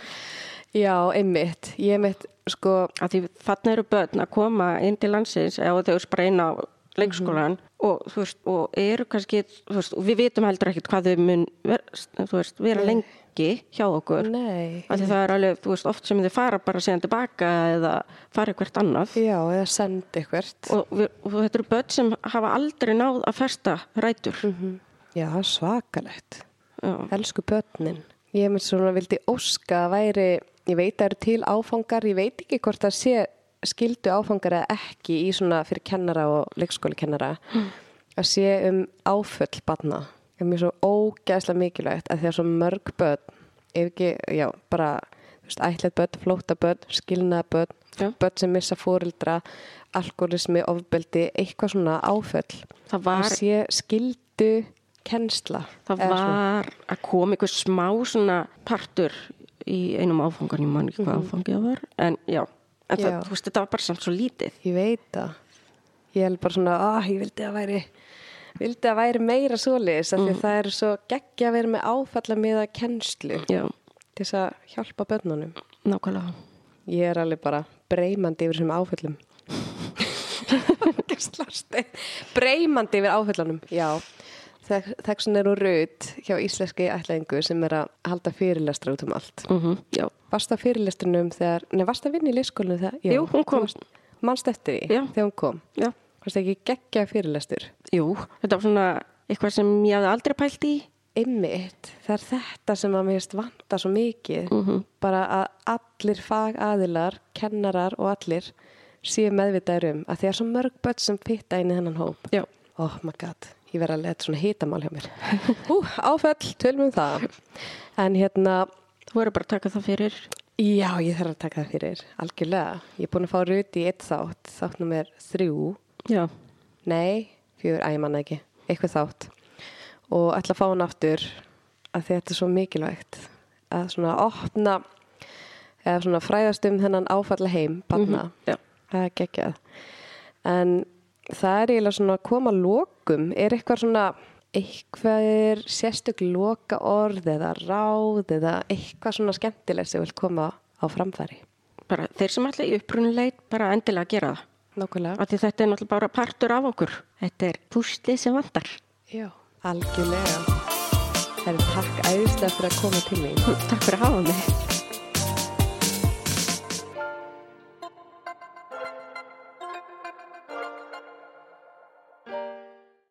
Speaker 1: Já, einmitt. Ég einmitt, sko,
Speaker 2: að því þarna eru börn að koma inn til landsins eða þau spreina á leikskólan
Speaker 1: Mhm.
Speaker 2: og þú veist, og eru kannski þú veist, og við vitum heldur ekkert hvað þau mun ver, þú veist, vera lengi hjá okkur
Speaker 1: Nei.
Speaker 2: að því það er alveg, þú veist, oft sem þau fara bara síðan tilbaka eða fara eitthvert annað
Speaker 1: Já, eða sendi eitthvert.
Speaker 2: og, við, og þetta eru börn sem hafa aldrei náð að festa rætur
Speaker 1: Mhm. Já, það er svakalegt.
Speaker 2: Já.
Speaker 1: Elsku börnin. Ég mynd svona vildi óska að væri, ég veit að eru til áfangar, ég veit ekki hvort það sé skildu áfangar eða ekki í svona fyrir kennara og leikskólikennara
Speaker 2: Hmm.
Speaker 1: að sé um áföll barna. Það er mér svo ógæðslega mikilvægt að því að svo mörg börn, ef ekki, já, bara, þú veist, ætlet börn, flóta börn, skilnað börn,
Speaker 2: Já.
Speaker 1: börn sem missa fóreldra, alkoholismi, ofbeldi, eitthvað svona áföll.
Speaker 2: það var
Speaker 1: að sé skildu kennsla
Speaker 2: það
Speaker 1: eða svona.
Speaker 2: var að koma einhver smá svona partur í einum áfangan, ég man ekki hvað áfangi það var en Mhm. já, en það,
Speaker 1: Já.
Speaker 2: þú veist, þetta var bara samt svo lítið
Speaker 1: ég veit það ég held bara svona, ah, ég vildi að væri vildi að væri meira svoleiðis af því
Speaker 2: Mhm.
Speaker 1: að það er svo geggja að vera með áfalla með að kennslu
Speaker 2: já,
Speaker 1: til þess að hjálpa börnunum
Speaker 2: nákvæmlega
Speaker 1: ég er alveg bara breymandi yfir þessum áföllum Slasti. breymandi yfir áföllunum já Þekksson er úr raut hjá íslenski ætlaðingu sem er að halda fyrirlestra út um allt.
Speaker 2: mm já,
Speaker 1: Varst það fyrirlestrinum þegar, nei, varst það vinni í leikskólinu þegar?
Speaker 2: Jú, hún kom.
Speaker 1: Manst eftir því
Speaker 2: Já.
Speaker 1: þegar hún kom.
Speaker 2: já,
Speaker 1: Varst ekki geggja fyrirlestur?
Speaker 2: jú þetta var svona eitthvað sem ég hafði aldrei pælt í
Speaker 1: Einmitt, það er þetta sem að mér finnst vanta svo mikið. Bara að allir fagaðilar, kennarar og allir séu meðvitaður um að því að svo mörg börn sem fitta inn í þennan hóp.
Speaker 2: já,
Speaker 1: Oh my god, ég verði að leta svona hitamál hjá mér. Ú, áfell, tölum um það. En hérna,
Speaker 2: þú verður bara að taka það fyrir
Speaker 1: Já, ég þarf að taka það fyrir, algjörlega. Ég er búin að fá ruti í eitt þátt, þátt nummer þrjú,
Speaker 2: já,
Speaker 1: nei, fjör, að ég manna ekki, eitthvað þátt. Og ætla að fá hann aftur að því að þetta er svo mikilvægt að svona opna, eða svona fræðast um þennan áfalla heim, banna.
Speaker 2: já,
Speaker 1: Það er geggjað. En það er eiginlega svona að koma að lokum. Er eitthvað svona, eitthvað er sérstök loka orð eða ráð eða eitthvað svona skemmtilegt sem vil koma á framfæri?
Speaker 2: bara þeir sem allir upprunuleit bara endilega að gera það
Speaker 1: Nákvæmlega.
Speaker 2: af því þetta er náttúrulega bara partur af okkur þetta er pústið sem vantar
Speaker 1: Já. Algjörlega. Það er takk æðislega fyrir að koma til mín.
Speaker 2: takk fyrir að hafa mig